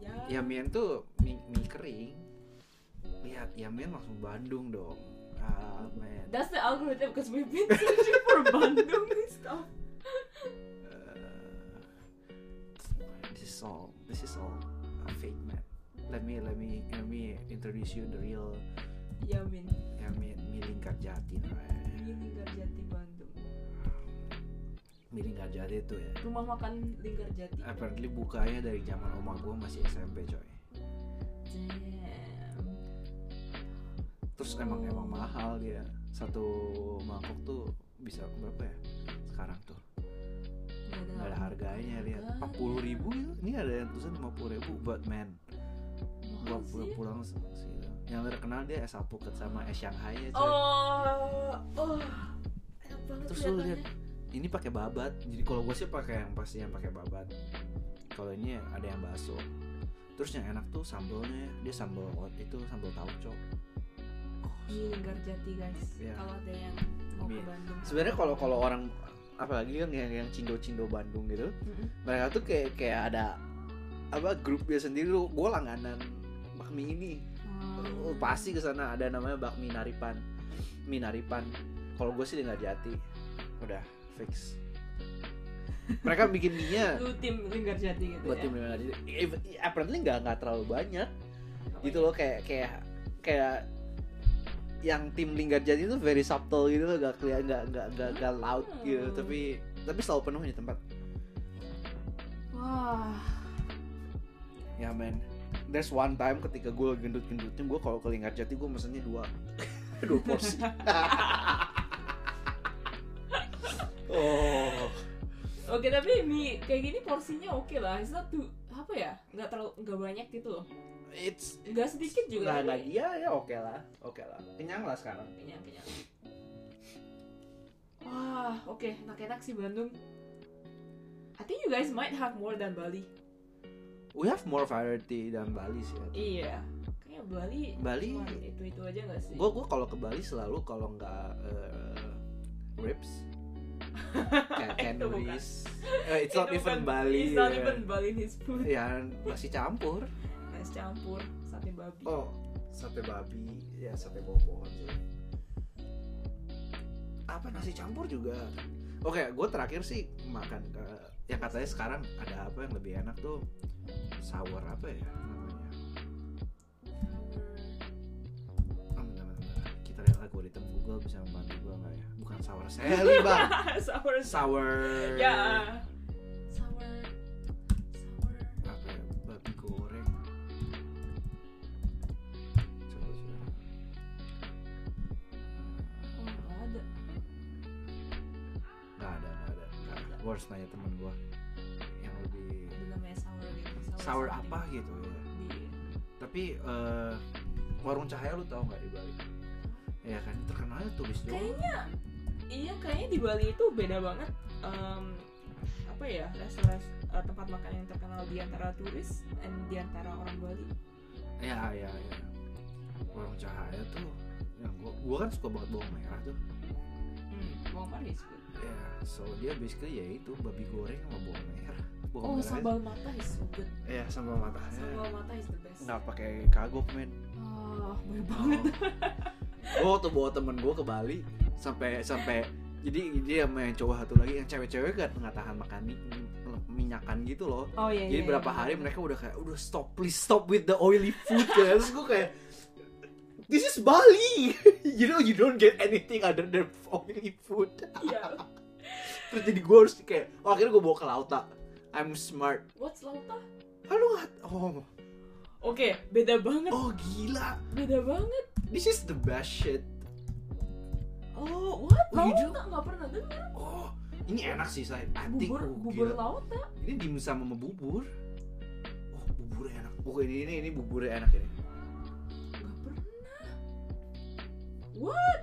Speaker 1: Ya.
Speaker 2: yamien tuh mie, mie kering lihat yamien langsung Bandung dong ah man
Speaker 1: That's the algorithm because we've been searching for Bandung and stuff.
Speaker 2: Eh, this is all this is all a fake man let me let me let me introduce you the real
Speaker 1: Yamin,
Speaker 2: ya mi- miring Karjati namanya.
Speaker 1: ini Linggarjati Bandung.
Speaker 2: miring Karjati itu ya
Speaker 1: Rumah makan Linggarjati.
Speaker 2: apparently bukanya dari zaman oma gua masih SMP coy
Speaker 1: Damn.
Speaker 2: terus emang
Speaker 1: Oh.
Speaker 2: emang mahal dia satu mangkok tuh bisa berapa ya sekarang tuh nggak ada harganya lihat empat puluh ribu ya? ini ada yang tulisan lima puluh ribu buat men
Speaker 1: Mahal
Speaker 2: gua pulang
Speaker 1: sih.
Speaker 2: pulang sih yang terkenal dia es apuket sama es Shanghai ya coy
Speaker 1: Oh, oh. Enak banget
Speaker 2: Terus lu lihat
Speaker 1: kelihatannya.
Speaker 2: ini pakai babat. Jadi kalau gue sih pakai yang pasti yang pakai babat. Kalau ini ada yang bakso. terus yang enak tuh sambalnya dia sambal itu sambal tauco
Speaker 1: di Linggarjati guys
Speaker 2: Oh, Iya.
Speaker 1: kalau ada yang mau ke
Speaker 2: Iya.
Speaker 1: Bandung
Speaker 2: sebenarnya kalau kalau orang apalagi kan yang yang, yang cindo-cindo Bandung gitu
Speaker 1: Mm-mm.
Speaker 2: mereka tuh kayak kayak ada apa grupnya sendiri lu gue langganan bakmi ini
Speaker 1: Hmm.
Speaker 2: Oh, pasti ke sana ada namanya bakmi naripan mie naripan kalau gue sih nggak jati udah fix mereka bikin mie-nya
Speaker 1: lu tim Linggarjati gitu ya
Speaker 2: buat tim Lima Nadi. If- apparently nggak nggak terlalu banyak
Speaker 1: Apa
Speaker 2: gitu
Speaker 1: ya?
Speaker 2: loh kayak kayak kayak yang tim Linggarjati itu very subtle gitu loh gak kelihatan gak nggak nggak nggak loud gitu
Speaker 1: Hmm.
Speaker 2: tapi tapi selalu penuh di tempat
Speaker 1: wah
Speaker 2: ya men there's one time ketika gue gendut gendutnya gue kalau ke Linggarjati gue mesennya dua (laughs) dua porsi (laughs) oh
Speaker 1: oke tapi mie kayak gini porsinya oke lah it's not too- apa ya nggak terlalu nggak banyak gitu loh
Speaker 2: it's
Speaker 1: nggak sedikit juga
Speaker 2: nah, nah
Speaker 1: tapi
Speaker 2: dia ya oke lah oke lah kenyang lah sekarang
Speaker 1: kenyang kenyang wah oke enak-enak sih Bandung I think you guys might have more than Bali
Speaker 2: we have more variety than Bali sih I think.
Speaker 1: iya kayaknya Bali
Speaker 2: Bali-
Speaker 1: itu itu aja nggak sih
Speaker 2: gue gue kalau ke Bali selalu kalau nggak eh,
Speaker 1: (laughs)
Speaker 2: ribs kayak
Speaker 1: Itu bukan.
Speaker 2: canneries Eh, it's not
Speaker 1: Itu
Speaker 2: even
Speaker 1: bukan-
Speaker 2: Bali
Speaker 1: it's not
Speaker 2: ya.
Speaker 1: even Balinese food
Speaker 2: ya masih campur
Speaker 1: nasi campur sate babi
Speaker 2: oh sate babi ya sate bawah pohon sih apa nasi campur juga oke gue terakhir sih makan ke yang katanya sekarang ada apa yang lebih enak tuh sour apa ya namanya Em, bentar, bentar. kita lihat algoritma Google bisa membantu gue nggak ya bukan sour sally bang
Speaker 1: (laughs) sour
Speaker 2: sour
Speaker 1: ya sour sour
Speaker 2: apa ya babi goreng coba coba
Speaker 1: oh nggak ada
Speaker 2: nggak ada nggak ada nggak ada gue harus nanya temen gue yang lebih
Speaker 1: ada namanya sour gitu
Speaker 2: sour
Speaker 1: something.
Speaker 2: apa gitu ya
Speaker 1: Di-
Speaker 2: tapi eh, warung cahaya lu tau nggak di Bali ya kan terkenalnya tulis doang
Speaker 1: kayaknya iya kayaknya di Bali itu beda banget em, apa ya restoran eh, tempat makan yang terkenal di antara turis dan di antara orang Bali
Speaker 2: ya ya ya warung cahaya tuh yang gue gue kan suka banget bawang merah tuh
Speaker 1: hmm, bawang merah is good
Speaker 2: ya so dia basically ya itu babi goreng sama bawang merah bawang
Speaker 1: oh
Speaker 2: merah
Speaker 1: sambal mata is so good Eh.
Speaker 2: ya sambal matahnya
Speaker 1: sambal mata is the best
Speaker 2: nggak Nah, pakai kagok men
Speaker 1: oh bener (laughs) banget
Speaker 2: gue waktu bawa temen gue ke Bali sampai sampai jadi dia sama yang cowok satu lagi yang cewek-cewek gak nggak tahan makan mi- mi- minyakan gitu loh
Speaker 1: oh iya
Speaker 2: jadi
Speaker 1: iya,
Speaker 2: berapa
Speaker 1: iya.
Speaker 2: hari mereka udah kayak udah stop please stop with the oily food (laughs) ya terus gue kayak this is Bali (laughs) you know you don't get anything other than oily food (laughs)
Speaker 1: Iya.
Speaker 2: terus jadi gue harus kayak oh, akhirnya gue bawa ke Lauta I'm smart
Speaker 1: what's lauta
Speaker 2: ah lu nggak oh
Speaker 1: oke beda banget
Speaker 2: oh gila
Speaker 1: beda banget
Speaker 2: this is the best shit
Speaker 1: oh what
Speaker 2: Oh, you do?
Speaker 1: lauta nggak pernah dengar
Speaker 2: oh ini enak sih saya I think
Speaker 1: bubur
Speaker 2: oh,
Speaker 1: bubur
Speaker 2: gila.
Speaker 1: lauta
Speaker 2: ini dimsum sama bubur oh buburnya enak oh ini ini ini buburnya enak ini
Speaker 1: nggak pernah what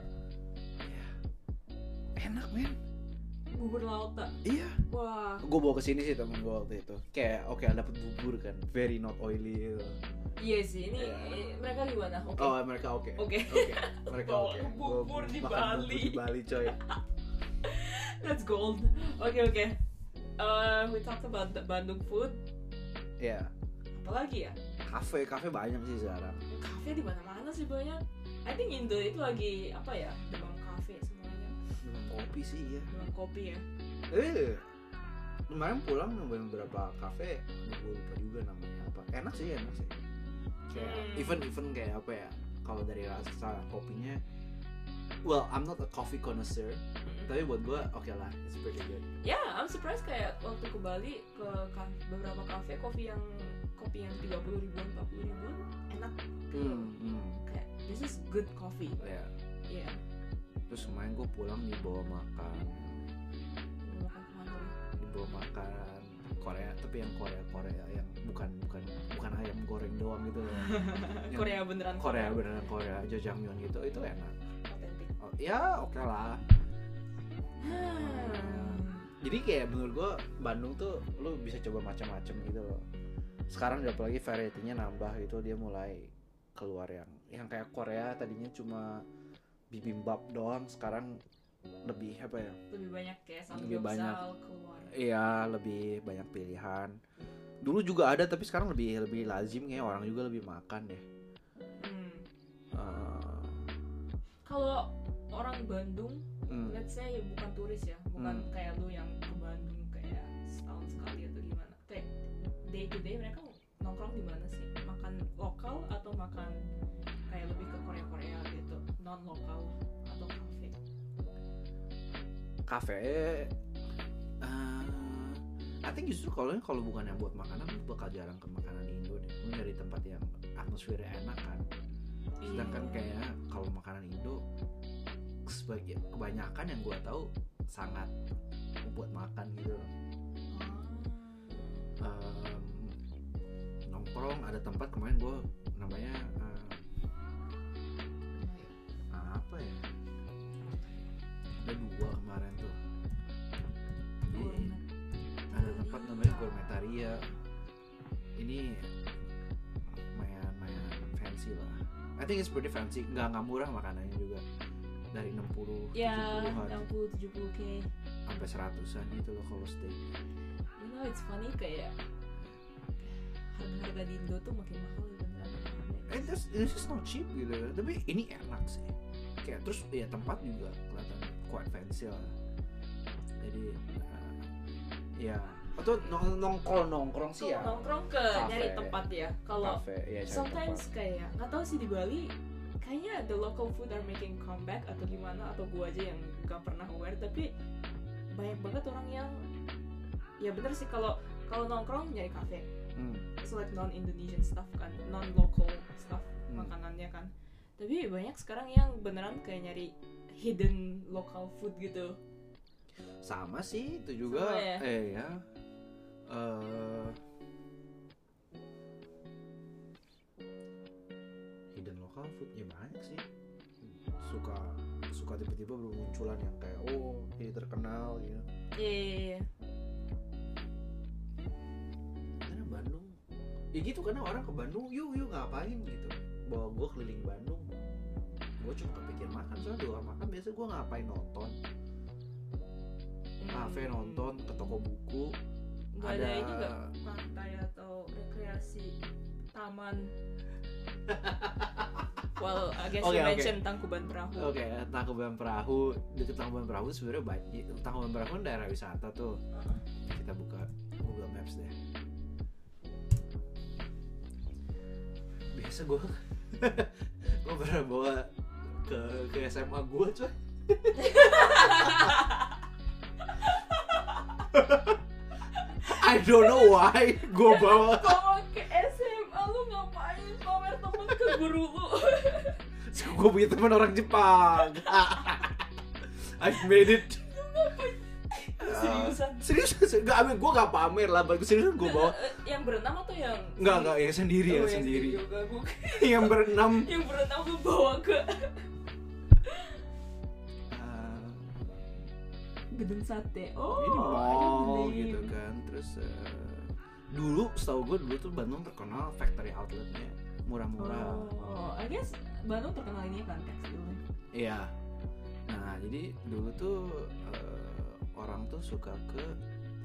Speaker 2: Iya. enak men
Speaker 1: bubur lauta
Speaker 2: iya
Speaker 1: wah
Speaker 2: gue bawa ke sini sih temen gue waktu itu kayak oke dapat bubur kan very not oily gitu.
Speaker 1: Iya sih, ini
Speaker 2: Iya.
Speaker 1: eh, mereka gimana? Oke.
Speaker 2: oh mereka oke
Speaker 1: Oke.
Speaker 2: Oke, mereka
Speaker 1: Bawa
Speaker 2: oke Gua
Speaker 1: bubur di
Speaker 2: makan bubur di
Speaker 1: Bali.
Speaker 2: Bali coy
Speaker 1: That's gold. Oke, oke. Eh, we talked about the Bandung food.
Speaker 2: ya
Speaker 1: Apalagi ya?
Speaker 2: kafe kafe banyak sih sekarang
Speaker 1: Kafe di mana-mana sih banyak. I think Indo itu lagi apa ya? Demam kafe semuanya.
Speaker 2: minum kopi sih ya
Speaker 1: Demam kopi ya.
Speaker 2: eh kemarin pulang nemuin beberapa kafe gue lupa juga namanya apa enak sih enak sih kayak
Speaker 1: Hmm.
Speaker 2: even even kayak apa ya kalau dari rasa kopinya well I'm not a coffee connoisseur
Speaker 1: Mm-mm.
Speaker 2: tapi buat gue oke lah it's pretty good
Speaker 1: Ya, I'm surprised kayak waktu ke Bali ke ka- beberapa kafe kopi yang kopi yang 30 ribuan, 40 ribuan enak.
Speaker 2: Hmm, hmm.
Speaker 1: Kayak this is good coffee.
Speaker 2: Ya,
Speaker 1: Iya.
Speaker 2: terus kemarin gue pulang dibawa makan
Speaker 1: Mau makan kemana lu?
Speaker 2: dibawa makan Korea tapi yang Korea Korea yang bukan bukan bukan ayam goreng doang gitu loh Yang
Speaker 1: (laughs) Korea beneran.
Speaker 2: Korea beneran Korea jajangmyeon gitu itu enak
Speaker 1: Otentik.
Speaker 2: Oh, ya oke lah
Speaker 1: Hmm.
Speaker 2: jadi kayak menurut gue Bandung tuh lu bisa coba macam-macam gitu loh sekarang udah apalagi variety-nya nambah gitu dia mulai keluar yang yang kayak Korea tadinya cuma bibimbap doang sekarang lebih apa ya
Speaker 1: lebih banyak kayak
Speaker 2: Lebih banyak.
Speaker 1: samgyeopsal keluar
Speaker 2: iya lebih banyak pilihan dulu juga ada tapi sekarang lebih lebih lazim kayak orang juga lebih makan deh
Speaker 1: hmm.
Speaker 2: Eh,
Speaker 1: kalau orang Bandung
Speaker 2: hmm,
Speaker 1: let's say bukan turis ya bukan
Speaker 2: Hmm.
Speaker 1: kayak lu yang ke Bandung kayak setahun sekali atau gimana kayak day to day mereka nongkrong di mana sih makan lokal atau makan kayak lebih ke Korea Korea gitu non lokal atau kafe
Speaker 2: kafe eh, I think justru kalau kalau bukan yang buat makanan lu bakal jarang ke makanan Indo deh lu nyari tempat yang atmosfernya enak kan sedangkan
Speaker 1: Iya.
Speaker 2: kayak kalau makanan Indo sebagian kebanyakan yang gua tahu sangat buat makan gitu
Speaker 1: Ah.
Speaker 2: Em, nongkrong ada tempat kemarin gua namanya em, apa ya ada dua kemarin tuh
Speaker 1: Ah,
Speaker 2: Di-
Speaker 1: Gourmet.
Speaker 2: ada tempat namanya Gourmetaria ini lumayan lumayan fancy lah I think it's pretty fancy nggak nggak murah makanannya juga dari 60
Speaker 1: ya
Speaker 2: 70-an
Speaker 1: 60 70 k
Speaker 2: sampai 100-an gitu loh kalau steak
Speaker 1: you know it's funny kayak harga-harga di Indo tuh makin mahal ya beneran
Speaker 2: and this, this is not cheap gitu tapi ini enak sih kayak terus ya tempat juga kelihatan quite fancy lah jadi uh, ya atau nong- nongkrong nongkrong sih
Speaker 1: Kalau
Speaker 2: ya
Speaker 1: nongkrong ke
Speaker 2: Kafe.
Speaker 1: nyari tempat ya kalau
Speaker 2: kafe ya cari
Speaker 1: sometimes
Speaker 2: tempat
Speaker 1: kayak nggak tahu sih di Bali kayaknya the local food are making comeback atau gimana atau gua aja yang gak pernah aware tapi banyak banget orang yang ya bener sih kalau kalau nongkrong nyari kafe
Speaker 2: Hmm,
Speaker 1: so like non Indonesian stuff kan non local stuff
Speaker 2: hmm.
Speaker 1: makanannya kan tapi banyak sekarang yang beneran kayak nyari hidden local food gitu
Speaker 2: sama sih itu juga
Speaker 1: Sama ya?
Speaker 2: eh ya Eh, hidden local food ya banyak sih suka suka tiba-tiba bermunculan yang kayak oh ini terkenal gitu
Speaker 1: Iya, iya, iya.
Speaker 2: karena Bandung ya gitu karena orang ke Bandung yuk yuk ngapain gitu bawa gue keliling Bandung gue cuma kepikir makan soalnya di luar makan biasa gue ngapain nonton
Speaker 1: Hmm.
Speaker 2: kafe nonton ke toko buku
Speaker 1: Nggak ada ini nggak pantai atau rekreasi
Speaker 2: (laughs)
Speaker 1: taman well I guess
Speaker 2: Oke,
Speaker 1: you
Speaker 2: oke.
Speaker 1: mentioned tangkuban perahu
Speaker 2: Oke, Tangkuban Perahu. Deket Tangkuban Perahu sebenarnya banyak. Tangkuban Perahu kan daerah wisata tuh.
Speaker 1: Heeh.
Speaker 2: Kita buka Google Maps deh. Biasa (laughs) gue, gue pernah bawa ke ke SMA gue coy. (laughs) I don't know why gue bawa
Speaker 1: kalau ke SMA lu ngapain pamer temen ke guru
Speaker 2: (laughs)
Speaker 1: lu
Speaker 2: Gue punya teman orang Jepang. (laughs) I've made it.
Speaker 1: Seriusan?
Speaker 2: Eh, seriusan, serius, gak, gue gak pamer lah, bagus seriusan gue bawa
Speaker 1: Eh, yang berenang atau yang
Speaker 2: Enggak, enggak, ya sendiri
Speaker 1: Oh,
Speaker 2: ya,
Speaker 1: yang
Speaker 2: sendiri
Speaker 1: juga. Gua kira
Speaker 2: (laughs) Yang berenam
Speaker 1: yang berenang lu bawa ke gedung sate oh
Speaker 2: Ah, Ini mall
Speaker 1: bener.
Speaker 2: gitu kan, terus eh, Dulu, setahu gue dulu tuh Bandung terkenal factory outletnya Murah-murah
Speaker 1: oh I guess Bandung terkenal ini kan tekstilnya
Speaker 2: Iya. Nah, jadi dulu tuh eh, orang tuh suka ke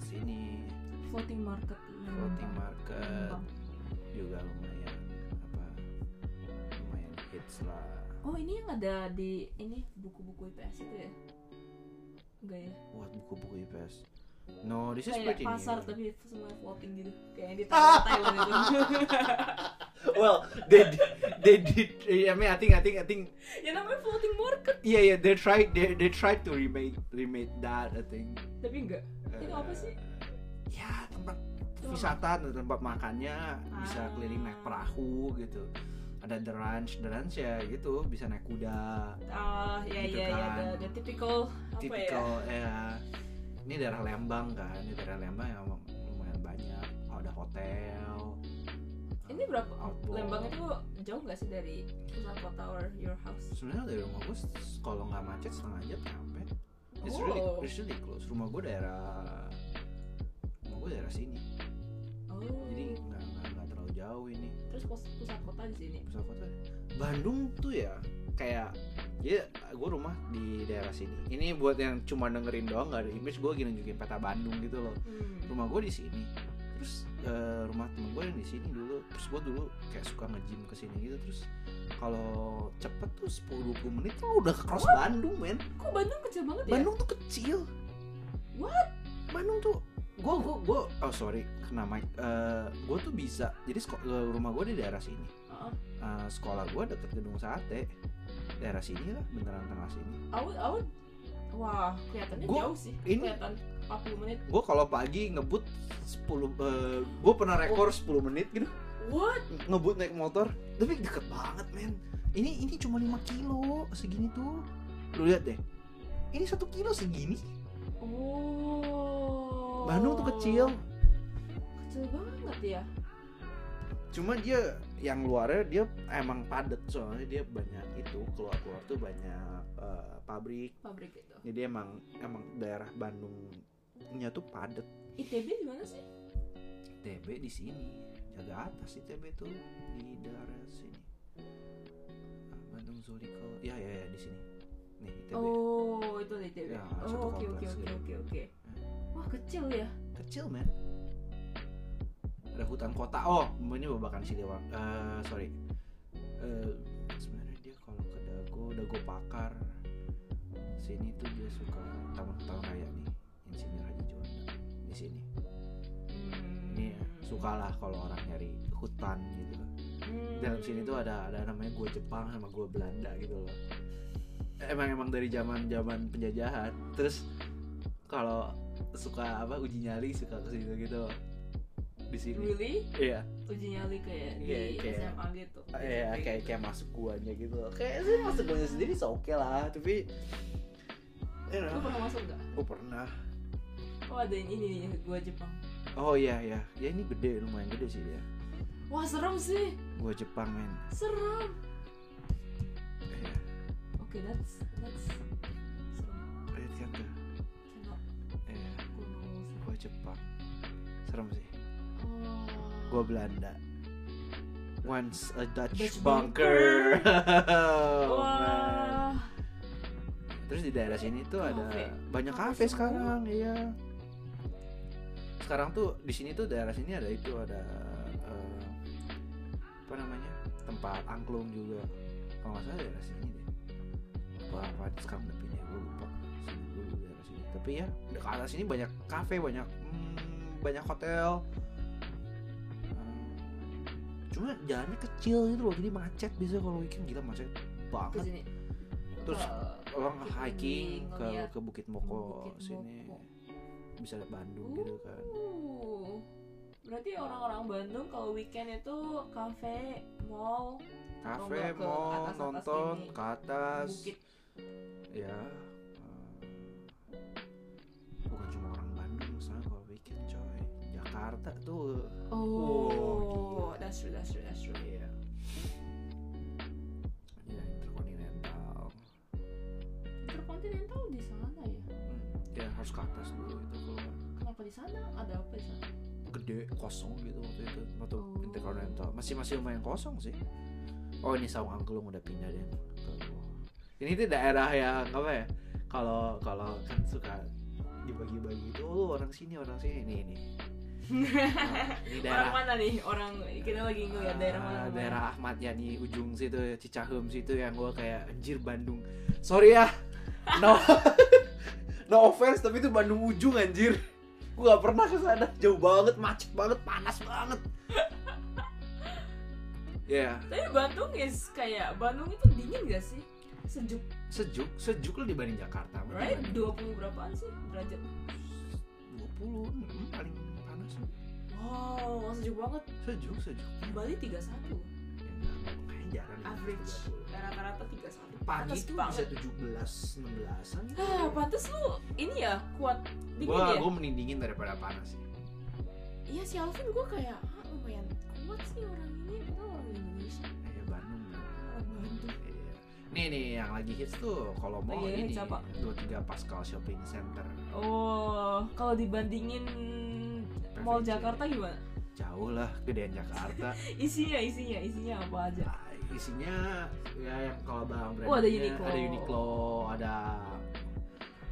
Speaker 2: sini
Speaker 1: floating market
Speaker 2: floating market juga lumayan apa lumayan hits lah.
Speaker 1: Oh ini yang ada di ini buku-buku IPS itu ya? Enggak ya?
Speaker 2: Buat buku-buku IPS. No, this is
Speaker 1: Kayak
Speaker 2: pretty
Speaker 1: pasar
Speaker 2: new.
Speaker 1: tapi semua floating gitu Kayak yang di gitu. Taiwan Taiwan itu
Speaker 2: (laughs) Well, they did, they did. I mean, I think, I think, I think.
Speaker 1: Ya namanya floating market
Speaker 2: Yeah, yeah. They tried, they, they tried to remake, remake that. I think. Uh,
Speaker 1: Tapi enggak Itu apa sih?
Speaker 2: Ya tempat wisata, tempat makannya bisa
Speaker 1: Ah.
Speaker 2: keliling naik perahu gitu. Ada the ranch, the ranch ya gitu bisa naik kuda.
Speaker 1: Ah ya
Speaker 2: Gitu
Speaker 1: ya ya
Speaker 2: kan.
Speaker 1: The, the typical apa ya?
Speaker 2: tipikal ya? ini daerah Lembang kan ini daerah Lembang yang emang lumayan banyak Oh, ada hotel
Speaker 1: Ini berapa?
Speaker 2: Outbound.
Speaker 1: Lembang itu jauh nggak sih dari pusat kota or your house?
Speaker 2: sebenarnya dari rumah gue s- kalau nggak macet setengah jam nyampe it's really
Speaker 1: Oh.
Speaker 2: it's really close rumah gue daerah rumah gue daerah sini
Speaker 1: Oh.
Speaker 2: jadi nggak nggak nggak
Speaker 1: sini
Speaker 2: pusat kota ya? Bandung tuh ya kayak ya gue rumah di daerah sini ini buat yang cuma dengerin doang gak ada image gue gini nunjukin peta Bandung gitu loh
Speaker 1: hmm.
Speaker 2: rumah gue di sini terus eh, rumah temen gue yang di sini dulu terus gue dulu kayak suka nge-gym ke sini gitu terus kalau cepet tuh 10-20 menit tuh udah cross Bandung men
Speaker 1: kok Bandung kecil banget ya
Speaker 2: Bandung tuh kecil
Speaker 1: What?
Speaker 2: Bandung tuh gue gue gue oh sorry kena mic gue tuh bisa jadi seko- eh, rumah gue di daerah sini
Speaker 1: Heeh.
Speaker 2: Eh, sekolah gue deket gedung sate daerah sini lah beneran tengah sini
Speaker 1: awet awet wah kelihatannya
Speaker 2: Gua-
Speaker 1: jauh sih
Speaker 2: ini-
Speaker 1: kelihatan 40 menit
Speaker 2: gue kalau pagi ngebut 10 gue pernah rekor 10 menit gitu
Speaker 1: what
Speaker 2: ngebut naik motor tapi deket banget men ini ini cuma 5 kilo segini tuh lu lihat deh ini satu kilo segini
Speaker 1: oh
Speaker 2: Bandung tuh kecil
Speaker 1: kecil banget ya
Speaker 2: cuma dia yang luarnya dia emang padat soalnya dia banyak itu keluar keluar tuh banyak eh, pabrik
Speaker 1: pabrik itu
Speaker 2: jadi emang emang daerah Bandungnya tuh padat
Speaker 1: ITB di mana sih
Speaker 2: TB di sini jaga atas di TB tuh di daerah sini Bandung Zolikal ya ya ya di sini nih ITB
Speaker 1: oh itu ada ITB
Speaker 2: Ya, satu
Speaker 1: oh oke oke oke
Speaker 2: kompleks gitu. Hmm.
Speaker 1: oke oke wah kecil ya
Speaker 2: kecil men ada hutan kota oh ini babakan Siliwang Eh sorry Eh sebenarnya dia kalau ke dago dago pakar sini tuh dia suka taman taman raya nih insinyur Haji Juanda di sini
Speaker 1: Hmm.
Speaker 2: ini sukalah kalau orang nyari hutan gitu
Speaker 1: Hmm.
Speaker 2: dalam sini tuh ada ada namanya gua Jepang sama gua Belanda gitu loh emang emang dari zaman zaman penjajahan terus kalau suka apa uji nyali suka ke situ gitu loh di sini
Speaker 1: Hmm, really
Speaker 2: iya
Speaker 1: uji nyali kayak
Speaker 2: Iya,
Speaker 1: di
Speaker 2: kayak-
Speaker 1: SMA gitu
Speaker 2: iya
Speaker 1: SMP
Speaker 2: kayak kayak masuk guanya gitu loh kayak sih masuk guanya sendiri so oke lah tapi you
Speaker 1: gitu. lu
Speaker 2: know,
Speaker 1: pernah masuk gak?
Speaker 2: gue pernah
Speaker 1: oh ada yang ini nih gua Jepang
Speaker 2: oh iya iya ya ini gede lumayan gede sih dia
Speaker 1: wah serem sih
Speaker 2: gua Jepang men
Speaker 1: serem
Speaker 2: Iya,
Speaker 1: oke that's that's serem
Speaker 2: lihat kan tuh
Speaker 1: cannot
Speaker 2: iya
Speaker 1: gua nggak mau serem.
Speaker 2: gua Jepang serem sih
Speaker 1: oh
Speaker 2: Gua Belanda. Once a Dutch
Speaker 1: Dutch
Speaker 2: bunker. (laughs) Oh, man.
Speaker 1: wah
Speaker 2: Terus di daerah sini tuh ada
Speaker 1: Kafe.
Speaker 2: banyak
Speaker 1: Kafe
Speaker 2: kafe
Speaker 1: semua.
Speaker 2: sekarang, iya. Sekarang tuh di sini tuh daerah sini ada itu ada eh, apa namanya? tempat angklung juga. Kalau nggak salah daerah sini deh. Apa apa sekarang udah pindah gue lupa. Sini dulu daerah sini. Tapi ya di arah sini banyak kafe, banyak hmm, banyak hotel. Eh, Cuma jalannya kecil gitu loh, jadi macet biasanya kalau weekend gila macet
Speaker 1: ke
Speaker 2: banget
Speaker 1: sini
Speaker 2: Terus
Speaker 1: Ke-
Speaker 2: orang
Speaker 1: kita
Speaker 2: Oh, hiking
Speaker 1: nih
Speaker 2: ke
Speaker 1: ngeliat
Speaker 2: ke Bukit Moko
Speaker 1: Bukit
Speaker 2: sini
Speaker 1: Moko.
Speaker 2: bisa lihat Bandung
Speaker 1: Uh.
Speaker 2: gitu kan
Speaker 1: Uh, berarti
Speaker 2: Nah.
Speaker 1: orang-orang Bandung kalau weekend itu kafe, mall, Kalau
Speaker 2: kafe
Speaker 1: nggak ke
Speaker 2: mau
Speaker 1: atas-atas
Speaker 2: nonton
Speaker 1: gini.
Speaker 2: ke atas
Speaker 1: bukit.
Speaker 2: ya eh, bukan cuma orang Bandung misalnya kalau weekend coy Jakarta tuh
Speaker 1: Oh,
Speaker 2: Oh,
Speaker 1: that's true, that's true, that's true.
Speaker 2: iya ya interkontinental
Speaker 1: Interkontinental di sana ya?
Speaker 2: Hmm, ya harus ke atas dulu itu kalau
Speaker 1: Kenapa di sana? Ada apa di sana?
Speaker 2: gede kosong gitu waktu itu waktu
Speaker 1: Oh.
Speaker 2: interkontinental masih masih lumayan kosong sih oh ini saung angklung udah pindah deh ke bawah. ini tuh daerah yang apa ya kalau kalau kan suka dibagi-bagi itu oh, lu orang sini orang sini ini ini Nah, ini
Speaker 1: Orang
Speaker 2: daerah
Speaker 1: mana nih? Orang kita lagi ngeliat ya, daerah mana?
Speaker 2: Ah,
Speaker 1: kemarin.
Speaker 2: daerah Ahmad Yani ujung situ Cicahem situ yang gua kayak anjir Bandung sorry ya no (laughs) no offense tapi itu Bandung ujung anjir gua gak pernah ke sana jauh banget macet banget panas banget ya
Speaker 1: Tapi Bandung is kayak Bandung itu dingin gak sih? Sejuk,
Speaker 2: sejuk sejuk lu dibanding Jakarta
Speaker 1: right?
Speaker 2: Dibanding
Speaker 1: 20 berapaan sih derajat?
Speaker 2: 20 hmm, paling panas
Speaker 1: Wow, sejuk banget.
Speaker 2: sejuk sejuk
Speaker 1: Bali 31.
Speaker 2: kayaknya jarang ya,
Speaker 1: Average.
Speaker 2: 30.
Speaker 1: Rata-rata 31.
Speaker 2: pagi
Speaker 1: Panas
Speaker 2: tuh
Speaker 1: banget.
Speaker 2: bisa 17 16an gitu
Speaker 1: Ah, pantes lu ini ya kuat dingin
Speaker 2: gua
Speaker 1: ya?
Speaker 2: gua mending dingin daripada panas sih
Speaker 1: Iya si Alvin gue kayak ah, lumayan kuat sih orang ini padahal orang Indonesia
Speaker 2: kayak Bandung ya.
Speaker 1: orang Eh, Bandung.
Speaker 2: Iya. nih nih yang lagi hits tuh kalau mau
Speaker 1: Lagi
Speaker 2: ini
Speaker 1: hits apa?
Speaker 2: 23 Pascal Shopping Center
Speaker 1: Oh, kalau dibandingin Mall
Speaker 2: PVC.
Speaker 1: Jakarta gimana?
Speaker 2: jauh lah gedean
Speaker 1: (laughs)
Speaker 2: Jakarta
Speaker 1: isinya isinya isinya apa aja
Speaker 2: Ah, isinya ya yang kalau barang brand
Speaker 1: Oh, ada Uniqlo.
Speaker 2: ada Uniqlo ada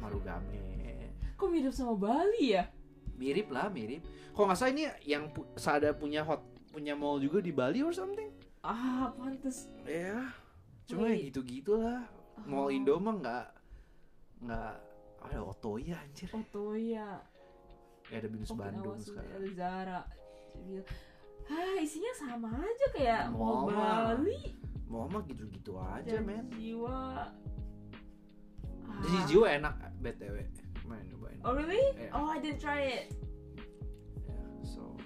Speaker 2: Marugame
Speaker 1: kok mirip sama Bali ya
Speaker 2: mirip lah mirip kalau nggak salah ini yang pu- Sada punya hot punya mall juga di Bali or something
Speaker 1: ah pantes
Speaker 2: ya
Speaker 1: Iya.
Speaker 2: cuma
Speaker 1: Wait.
Speaker 2: ya gitu gitulah mall Indo mah nggak nggak ada Otoya anjir
Speaker 1: oh Toya
Speaker 2: ya ada Binus Bandung sekarang
Speaker 1: ada Zara Gila. ah isinya sama aja kayak mau
Speaker 2: Mall lah.
Speaker 1: Bali
Speaker 2: mall mah gitu-gitu aja
Speaker 1: dan
Speaker 2: men
Speaker 1: jiwa
Speaker 2: jadi
Speaker 1: Ah.
Speaker 2: jiwa enak btw main nyobain
Speaker 1: oh really
Speaker 2: Iya.
Speaker 1: oh I didn't try it
Speaker 2: Ya, so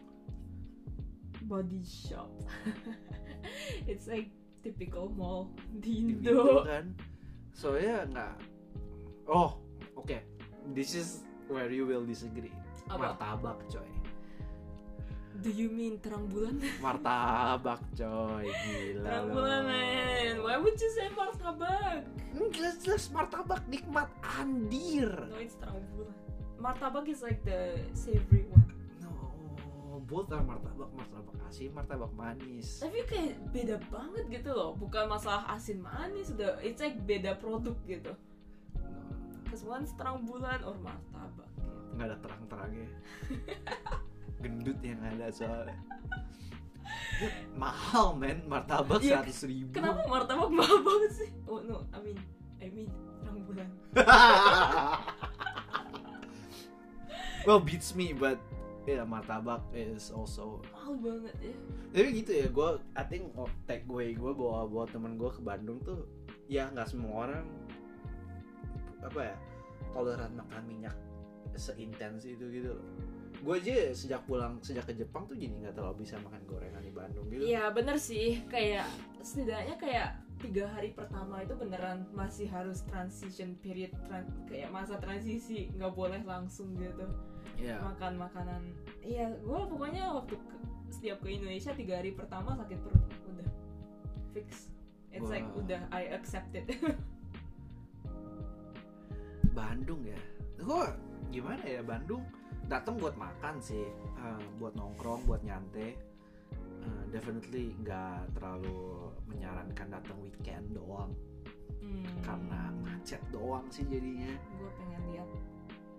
Speaker 1: body shop (laughs) it's like typical mall di
Speaker 2: gitu
Speaker 1: Indo
Speaker 2: kan soalnya nggak oh oke this is where you will disagree
Speaker 1: Apa?
Speaker 2: martabak coy
Speaker 1: do you mean terang
Speaker 2: (laughs)
Speaker 1: bulan
Speaker 2: martabak coy gila
Speaker 1: terang
Speaker 2: lo.
Speaker 1: bulan man why would you say martabak
Speaker 2: Hmm, jelas-jelas martabak nikmat andir
Speaker 1: no it's terang bulan martabak is like the savory one
Speaker 2: no both are martabak martabak asin martabak manis
Speaker 1: tapi kayak beda banget gitu loh bukan masalah asin manis udah it's like beda produk gitu
Speaker 2: No,
Speaker 1: cause one's terang bulan or martabak
Speaker 2: nggak ada terang-terangnya gendut yang ada soalnya Ya, mahal men martabak
Speaker 1: Iya,
Speaker 2: seratus ribu
Speaker 1: kenapa martabak mahal banget sih oh no I mean I mean kan terang bulan
Speaker 2: (laughs) well beats me but ya martabak is also
Speaker 1: mahal banget ya
Speaker 2: tapi gitu ya gue I think oh, takeaway gue bawa bawa temen gue ke Bandung tuh ya nggak semua orang apa ya toleran makan minyak seintens itu gitu loh gue aja sejak pulang sejak ke Jepang tuh jadi nggak terlalu bisa makan gorengan di Bandung gitu
Speaker 1: Iya bener sih kayak setidaknya kayak tiga hari pertama itu beneran masih harus transition period tran- kayak masa transisi nggak boleh langsung gitu
Speaker 2: Iya.
Speaker 1: makan makanan iya gue pokoknya waktu ke- setiap ke Indonesia tiga hari pertama sakit perut udah fix it's like
Speaker 2: Wah.
Speaker 1: udah I accept it (laughs)
Speaker 2: Bandung ya gue gimana ya Bandung datang buat makan sih eh, buat nongkrong buat nyantai Eh, definitely nggak terlalu menyarankan datang weekend doang karena macet doang sih jadinya
Speaker 1: gue Hmm. pengen lihat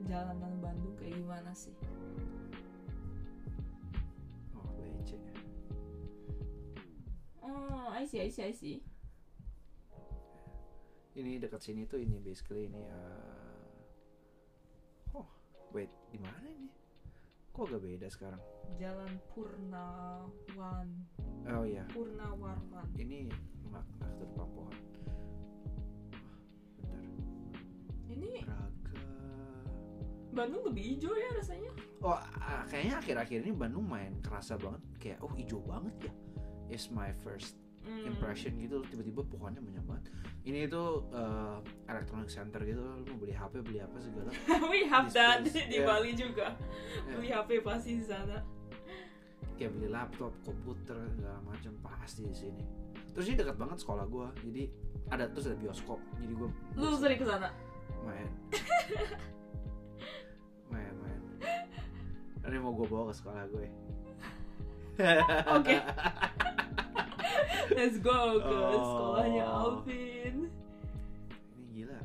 Speaker 1: jalanan Bandung kayak gimana sih
Speaker 2: oh becek
Speaker 1: oh I see I see I see
Speaker 2: ini dekat sini tuh ini basically ini eh, oh wait di mana ini kok agak beda sekarang
Speaker 1: Jalan Purnawan
Speaker 2: oh iya
Speaker 1: Purnawarman
Speaker 2: ini nggak nggak ke depan pohon bentar
Speaker 1: Ini
Speaker 2: Braga
Speaker 1: Bandung lebih hijau ya rasanya.
Speaker 2: oh ah, kayaknya akhir-akhir ini Bandung main kerasa banget kayak oh hijau banget ya is my first
Speaker 1: Hmm.
Speaker 2: impression gitu loh, tiba-tiba pohonnya banyak banget ini itu eh, electronic center gitu lo mau beli HP beli apa segala
Speaker 1: (laughs) We have that
Speaker 2: Displays,
Speaker 1: di
Speaker 2: yeah.
Speaker 1: Bali juga.
Speaker 2: Eh,
Speaker 1: Beli HP pasti di sana.
Speaker 2: kayak beli laptop komputer segala macam pasti di sini terus ini dekat banget sekolah gua jadi ada terus ada bioskop jadi gua
Speaker 1: Lu sering ke
Speaker 2: (laughs)
Speaker 1: sana.
Speaker 2: main main main ini mau gua ya. bawa ke sekolah gue
Speaker 1: Oke. (laughs) Let's go ke
Speaker 2: Oh.
Speaker 1: sekolahnya Alvin.
Speaker 2: ini gila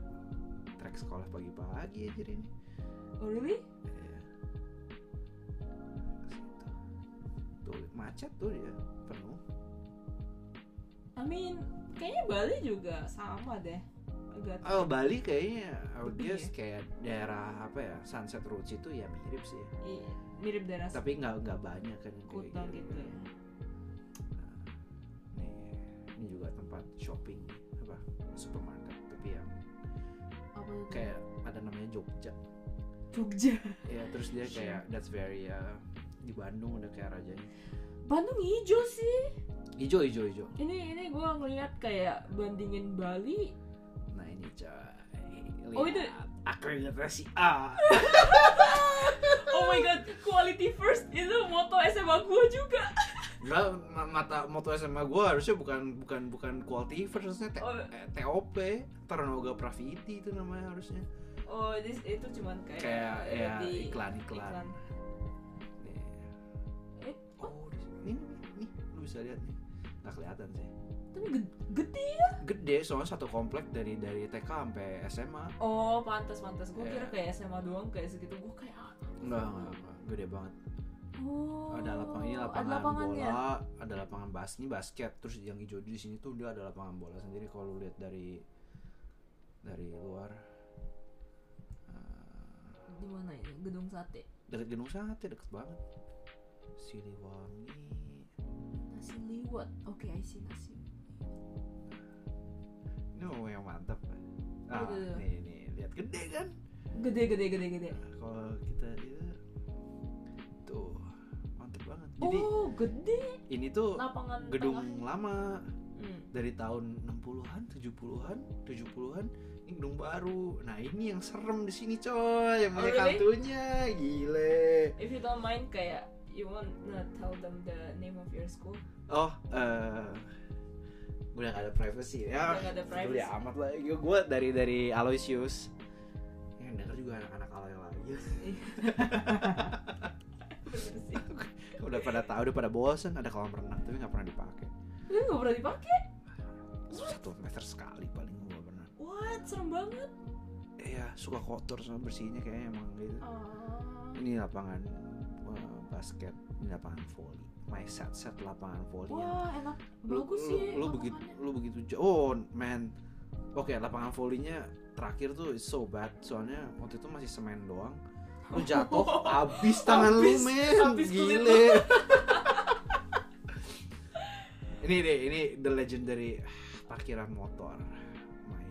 Speaker 2: trek sekolah pagi-pagi aja ini
Speaker 1: Oh really?
Speaker 2: Iya. Ke situ. tuh macet tuh dia penuh
Speaker 1: I mean, kayaknya Bali juga sama deh. Agak
Speaker 2: oh Bali kayaknya I would
Speaker 1: Lebih
Speaker 2: guess kayak daerah apa ya Sunset Roads itu ya mirip sih
Speaker 1: i- mirip daerah
Speaker 2: tapi nggak nggak banyak kan yang kayak Nah,
Speaker 1: kota gitu ya.
Speaker 2: nih ini juga tempat shopping apa supermarket tapi yang
Speaker 1: Apa itu?
Speaker 2: kayak ada namanya Jogja
Speaker 1: Jogja.
Speaker 2: ya terus dia kayak that's very uh, di Bandung udah kayak rajanya
Speaker 1: Bandung hijau sih.
Speaker 2: hijau hijau hijau
Speaker 1: Ini ini gue ngeliat kayak bandingin Bali
Speaker 2: nah ini coy
Speaker 1: Oh, itu-
Speaker 2: Lihat, Ah. akhirnya si A
Speaker 1: Oh my god, quality first itu moto SMA gue juga.
Speaker 2: Enggak, ma- mata moto SMA gue harusnya bukan bukan bukan quality harusnya T-
Speaker 1: Oh.
Speaker 2: eh, TOP Tarnoga Praviti itu namanya harusnya
Speaker 1: Oh, this, itu cuman kayak
Speaker 2: kayak ya
Speaker 1: di-
Speaker 2: iklan iklan
Speaker 1: iklan.
Speaker 2: Nih.
Speaker 1: Eh,
Speaker 2: oh nih nih lu bisa lihat nih nggak kelihatan sih
Speaker 1: tapi ged- gede
Speaker 2: gede soalnya satu komplek dari dari TK sampai SMA
Speaker 1: oh pantas pantas gue
Speaker 2: Iya.
Speaker 1: kira kayak SMA doang kayak segitu gue kayak ah,
Speaker 2: enggak enggak, enggak. gede banget
Speaker 1: oh
Speaker 2: ada lapangan ini
Speaker 1: ada ya?
Speaker 2: lapangan
Speaker 1: lapangannya.
Speaker 2: bola ada lapangan bas ini basket terus yang hijau di sini tuh dia ada lapangan bola sendiri kalau lu lihat dari dari luar Eh,
Speaker 1: di mana ini gedung sate
Speaker 2: deket gedung sate deket banget Siliwangi
Speaker 1: nasi liwet oke I see nasi
Speaker 2: ini mau yang mantap ah
Speaker 1: Aduh.
Speaker 2: nih nih lihat gede kan
Speaker 1: gede gede gede gede
Speaker 2: Nah, kalau kita itu tuh mantep banget jadi
Speaker 1: oh gede
Speaker 2: ini tuh
Speaker 1: lapangan
Speaker 2: gedung
Speaker 1: tengah.
Speaker 2: lama
Speaker 1: Hmm.
Speaker 2: dari tahun 60-an, 70-an, 70-an ini gedung baru. Nah, ini yang serem di sini, coy. Yang
Speaker 1: Oh,
Speaker 2: banyak
Speaker 1: really?
Speaker 2: hantunya, gile.
Speaker 1: if you don't mind kayak you want to tell them the name of your (laughs) school
Speaker 2: Oh, eh udah gak ada privacy ya.
Speaker 1: Udah nggak ada
Speaker 2: Peduli
Speaker 1: privacy.
Speaker 2: amat lah. Gue dari dari Aloysius. Yang denger juga anak-anak Aloy lagi.
Speaker 1: Bener sih.
Speaker 2: udah pada tahu, udah pada bosen ada kolam renang tapi nggak pernah dipakai.
Speaker 1: Ini nggak pernah dipakai.
Speaker 2: Satu meter sekali paling gue pernah.
Speaker 1: What? Serem banget.
Speaker 2: Iya, suka kotor sama bersihnya kayaknya emang gitu.
Speaker 1: Oh.
Speaker 2: ini lapangan uh, basket ini lapangan volley my set set lapangan volley yang
Speaker 1: Wah, enak.
Speaker 2: lu,
Speaker 1: Bagus
Speaker 2: lu,
Speaker 1: sih.
Speaker 2: lu begitu lu begitu jauh oh man oke lapangan volleynya terakhir tuh is so bad soalnya waktu itu masih semen doang lu
Speaker 1: (laughs)
Speaker 2: jatuh habis tangan
Speaker 1: Habis-
Speaker 2: lu men
Speaker 1: habis kulit lu.
Speaker 2: gile (laughs) ini deh ini the legendary parkiran motor my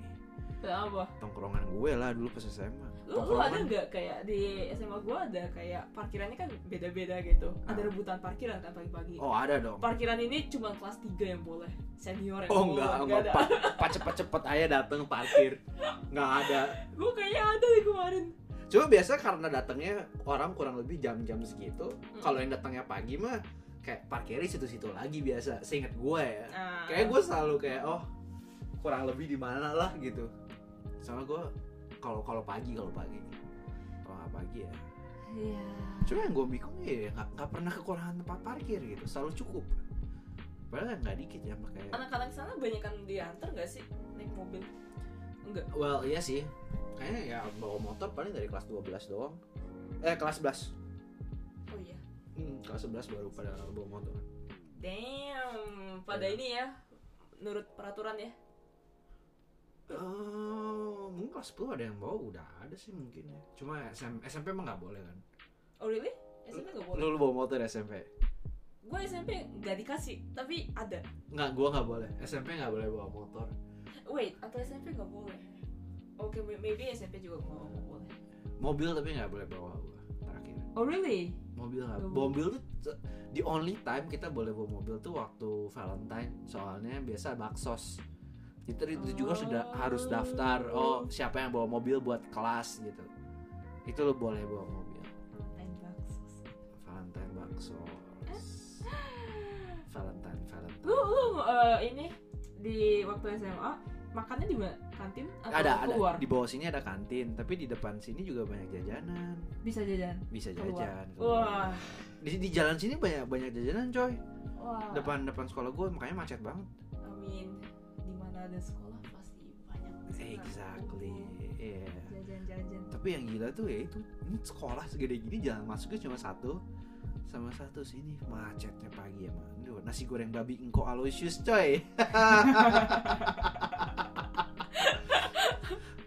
Speaker 1: Tuh, apa?
Speaker 2: tongkrongan gue lah dulu pas SMA
Speaker 1: Lu, lu ada nggak kayak di SMA gua ada kayak parkirannya kan beda-beda gitu. Ada
Speaker 2: Ah.
Speaker 1: rebutan parkiran kan pagi-pagi.
Speaker 2: oh ada dong
Speaker 1: Parkiran ini cuma kelas 3 yang boleh. Senior yang
Speaker 2: Oh
Speaker 1: boleh.
Speaker 2: enggak, enggak,
Speaker 1: ada.
Speaker 2: pak pak cepet-cepet aja dateng parkir Enggak ada
Speaker 1: Gua kayaknya ada deh kemarin.
Speaker 2: Cuma biasa karena datangnya orang kurang lebih jam-jam segitu
Speaker 1: Hmm.
Speaker 2: Kalau yang datangnya pagi mah kayak parkirnya situ-situ lagi biasa Seinget gue ya
Speaker 1: Ah.
Speaker 2: Kayak gue selalu kayak oh kurang lebih di mana lah gitu Soalnya gue kalau kalau pagi kalau pagi kalau nggak pagi ya
Speaker 1: Iya.
Speaker 2: cuma yang gue bingung ya nggak nggak pernah kekurangan tempat parkir gitu selalu cukup padahal nggak dikit ya makanya
Speaker 1: Anak-anak sana banyak kan diantar nggak sih naik mobil? Enggak.
Speaker 2: Well, iya sih. Kayaknya ya bawa motor paling dari kelas 12 doang. Eh, kelas 11.
Speaker 1: Oh iya.
Speaker 2: Hmm, kelas 11 baru pada bawa motor.
Speaker 1: Damn, pada
Speaker 2: Iya.
Speaker 1: ini ya, menurut peraturan ya.
Speaker 2: Oh, mungkin kelas 10 ada yang bawa udah ada sih mungkin ya. Cuma SM, SMP emang nggak boleh kan?
Speaker 1: Oh really? SMP gak boleh.
Speaker 2: Lu, lu bawa motor SMP?
Speaker 1: Gue SMP gak dikasih, tapi ada.
Speaker 2: Nggak, gua nggak boleh. SMP nggak boleh bawa motor.
Speaker 1: Wait, atau SMP gak boleh? Oke, may- maybe SMP juga gak gak boleh.
Speaker 2: Mobil tapi nggak boleh bawa gua terakhir.
Speaker 1: Oh really?
Speaker 2: Mobil nggak.
Speaker 1: Nggak boleh.
Speaker 2: Mobil tuh t- the only time kita boleh bawa mobil tuh waktu Valentine. Soalnya biasa baksos. Itu, itu juga sudah harus daftar. Oh, siapa yang bawa mobil buat kelas gitu. Itu lo boleh bawa mobil.
Speaker 1: Valentine baksos.
Speaker 2: Valentine baksos. Valentine, Valentine.
Speaker 1: (gasps) Lu, lu eh, ini di waktu SMA makannya di mana? Kantin atau
Speaker 2: Ada, ada.
Speaker 1: keluar?
Speaker 2: Di bawah sini ada kantin, tapi di depan sini juga banyak jajanan.
Speaker 1: Bisa jajan.
Speaker 2: Bisa
Speaker 1: Keluar.
Speaker 2: jajan. keluar.
Speaker 1: Wah,
Speaker 2: Di, di jalan sini banyak banyak jajanan, coy.
Speaker 1: wah.
Speaker 2: Depan depan sekolah gue makanya macet banget.
Speaker 1: Amin. Di mana ada sekolah pasti banyak. pesanan.
Speaker 2: Exactly. Iya.
Speaker 1: Jajan-jajan.
Speaker 2: Tapi yang gila tuh ya itu ini sekolah segede gini jalan masuknya cuma satu sama satu sini macetnya pagi ya man. Duh, nasi goreng babi engko Aloysius coy. (laughs)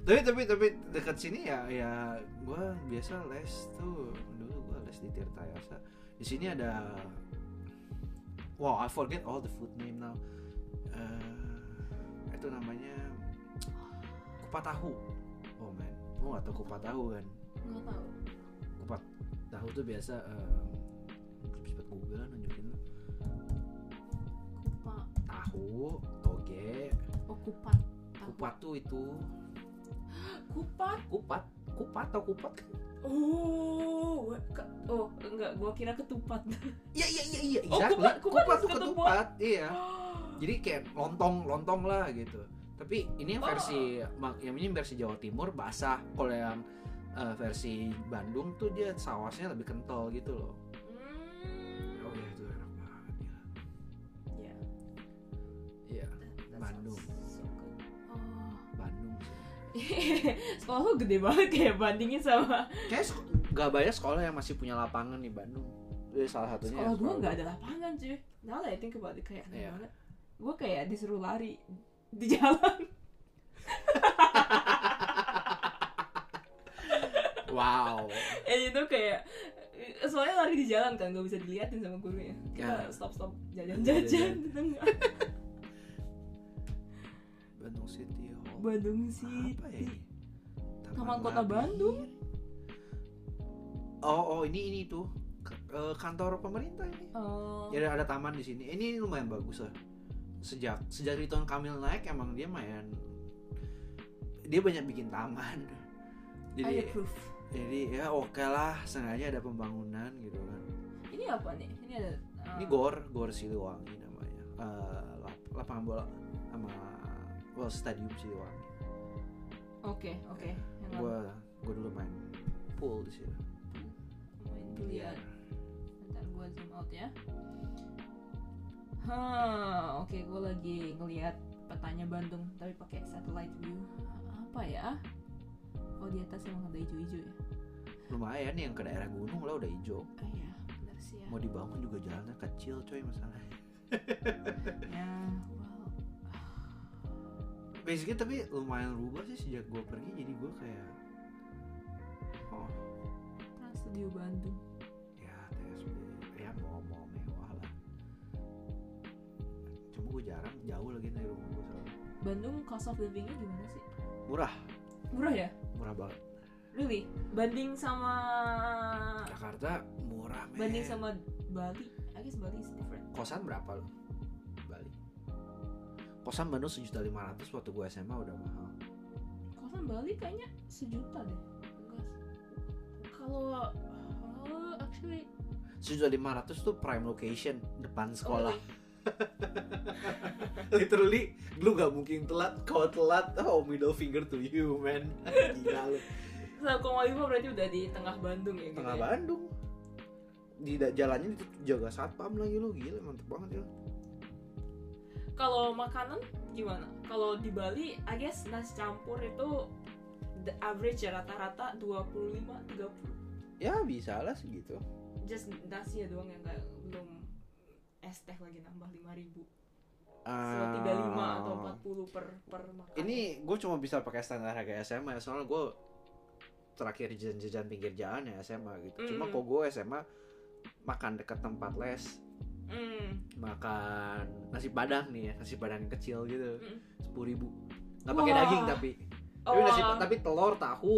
Speaker 2: tapi tapi tapi dekat sini ya ya gua biasa les tuh dulu gua les di Tirta Yasa. Di sini ada wow I forget all the food name now. Eh, itu namanya kupat tahu. Oh man, gua nggak tahu kupat tahu kan.
Speaker 1: Nggak tahu.
Speaker 2: Kupat tahu tuh biasa eh, cepet Google lah nunjukin lu.
Speaker 1: Kupa
Speaker 2: tahu, toge,
Speaker 1: Oh, kupat.
Speaker 2: kupat tuh itu
Speaker 1: Kupat.
Speaker 2: kupat, kupat atau kupat?
Speaker 1: Oh, wa- ke- oh enggak, gua kira (gasps) ketupat. Hmm.
Speaker 2: Iya iya iya iya,
Speaker 1: Oh,
Speaker 2: exactly.
Speaker 1: kupat- kupat
Speaker 2: kupat tuh
Speaker 1: is ketupat.
Speaker 2: ketupat, iya. Jadi kayak lontong lontong lah gitu. Tapi ini yang
Speaker 1: Oh.
Speaker 2: versi mak- yang ini versi Jawa Timur basah. Kalau yang eh, versi Bandung tuh dia sausnya lebih kental gitu loh.
Speaker 1: Hmm.
Speaker 2: Oh iya itu enak banget. Bandung.
Speaker 1: So good. Oh. (laughs)
Speaker 2: Bandung
Speaker 1: sekolah lu gede banget kayak bandingin sama
Speaker 2: kayak sek- nggak banyak sekolah yang masih punya lapangan di Bandung itu salah satunya
Speaker 1: sekolah
Speaker 2: ya,
Speaker 1: gua nggak ada lapangan cuy now that I think about it kayak aneh
Speaker 2: Iya.
Speaker 1: banget gua kayak disuruh lari di (laughs) jalan
Speaker 2: (laughs) wow
Speaker 1: and itu kayak soalnya lari di jalan kan gak bisa diliatin sama gurunya kita gitu
Speaker 2: Ya.
Speaker 1: stop stop jajan
Speaker 2: (laughs)
Speaker 1: jajan di tengah
Speaker 2: Bandung City Hall
Speaker 1: Bandung sih
Speaker 2: apa ya ini?
Speaker 1: Taman Kota
Speaker 2: Labi.
Speaker 1: Bandung.
Speaker 2: oh oh ini ini tuh K- eh, kantor pemerintah ini
Speaker 1: oh
Speaker 2: jadi ada taman di sini ini lumayan bagus lah sejak sejak Ridwan Kamil naik emang dia main dia banyak bikin taman
Speaker 1: I
Speaker 2: jadi
Speaker 1: approve
Speaker 2: jadi ya oke lah sengaja ada pembangunan gitu kan
Speaker 1: ini apa nih ini ada eh,
Speaker 2: ini
Speaker 1: Ah.
Speaker 2: gor gor Siliwangi namanya Eh, lap- lapangan bola sama well, stadium Siliwangi
Speaker 1: oke oke Yang
Speaker 2: gue gue dulu main pool di Iya. sini
Speaker 1: main biliar ya. Bentar gue zoom out ya. Hah, oke gue lagi ngelihat petanya Bandung tapi pakai satellite view. Apa ya? Oh di atas emang ada hijau-hijau ya?
Speaker 2: lumayan yang ke daerah gunung lah udah hijau
Speaker 1: Ah ya, benar sih ya.
Speaker 2: mau dibangun juga jalannya kecil coy masalahnya
Speaker 1: Ya, wow.
Speaker 2: basically tapi lumayan rubah sih sejak gue pergi jadi gue kayak oh
Speaker 1: Trans Studio Bandung.
Speaker 2: ya TSB ya mau mau mewah lah cuma gue jarang jauh lagi dari rumah gue soalnya
Speaker 1: Bandung cost of livingnya gimana sih?
Speaker 2: murah
Speaker 1: Murah ya?
Speaker 2: murah banget
Speaker 1: Really? Banding sama
Speaker 2: Jakarta murah men
Speaker 1: banding sama Bali? I guess Bali is different.
Speaker 2: kosan berapa lo Bali kosan Bandung sejuta lima ratus waktu gue SMA udah mahal
Speaker 1: Kosan Bali kayaknya sejuta deh. Enggak. Kalau oh, actually
Speaker 2: sejuta lima ratus tuh prime location depan sekolah
Speaker 1: Oh,
Speaker 2: (laughs) literally lu gak mungkin telat kau telat oh middle finger to you man (laughs) gila
Speaker 1: (laughs)
Speaker 2: lu
Speaker 1: Satu berarti udah di tengah Bandung ya? gitu
Speaker 2: tengah
Speaker 1: ya?
Speaker 2: Bandung di da- jalannya dijaga satpam lagi lu gila mantep banget ya
Speaker 1: Kalau makanan gimana? Kalau di Bali, I guess nasi campur itu the average ya rata-rata 25-30
Speaker 2: ya bisa lah segitu
Speaker 1: Just nasi ya doang yang kayak belum es teh lagi nambah 5 ribu so,
Speaker 2: Ah.
Speaker 1: 35 atau 40 per, per makan
Speaker 2: ini gue cuma bisa pakai standar harga SMA ya, soalnya gue terakhir jajan-jajan pinggir jalan ya SMA gitu cuma
Speaker 1: Mm.
Speaker 2: kok gue SMA makan dekat tempat les
Speaker 1: Mm.
Speaker 2: makan nasi padang nih ya nasi padang yang kecil gitu
Speaker 1: Mm.
Speaker 2: sepuluh ribu nggak pakai
Speaker 1: Wah.
Speaker 2: daging tapi tapi nasi
Speaker 1: Wah.
Speaker 2: tapi telur tahu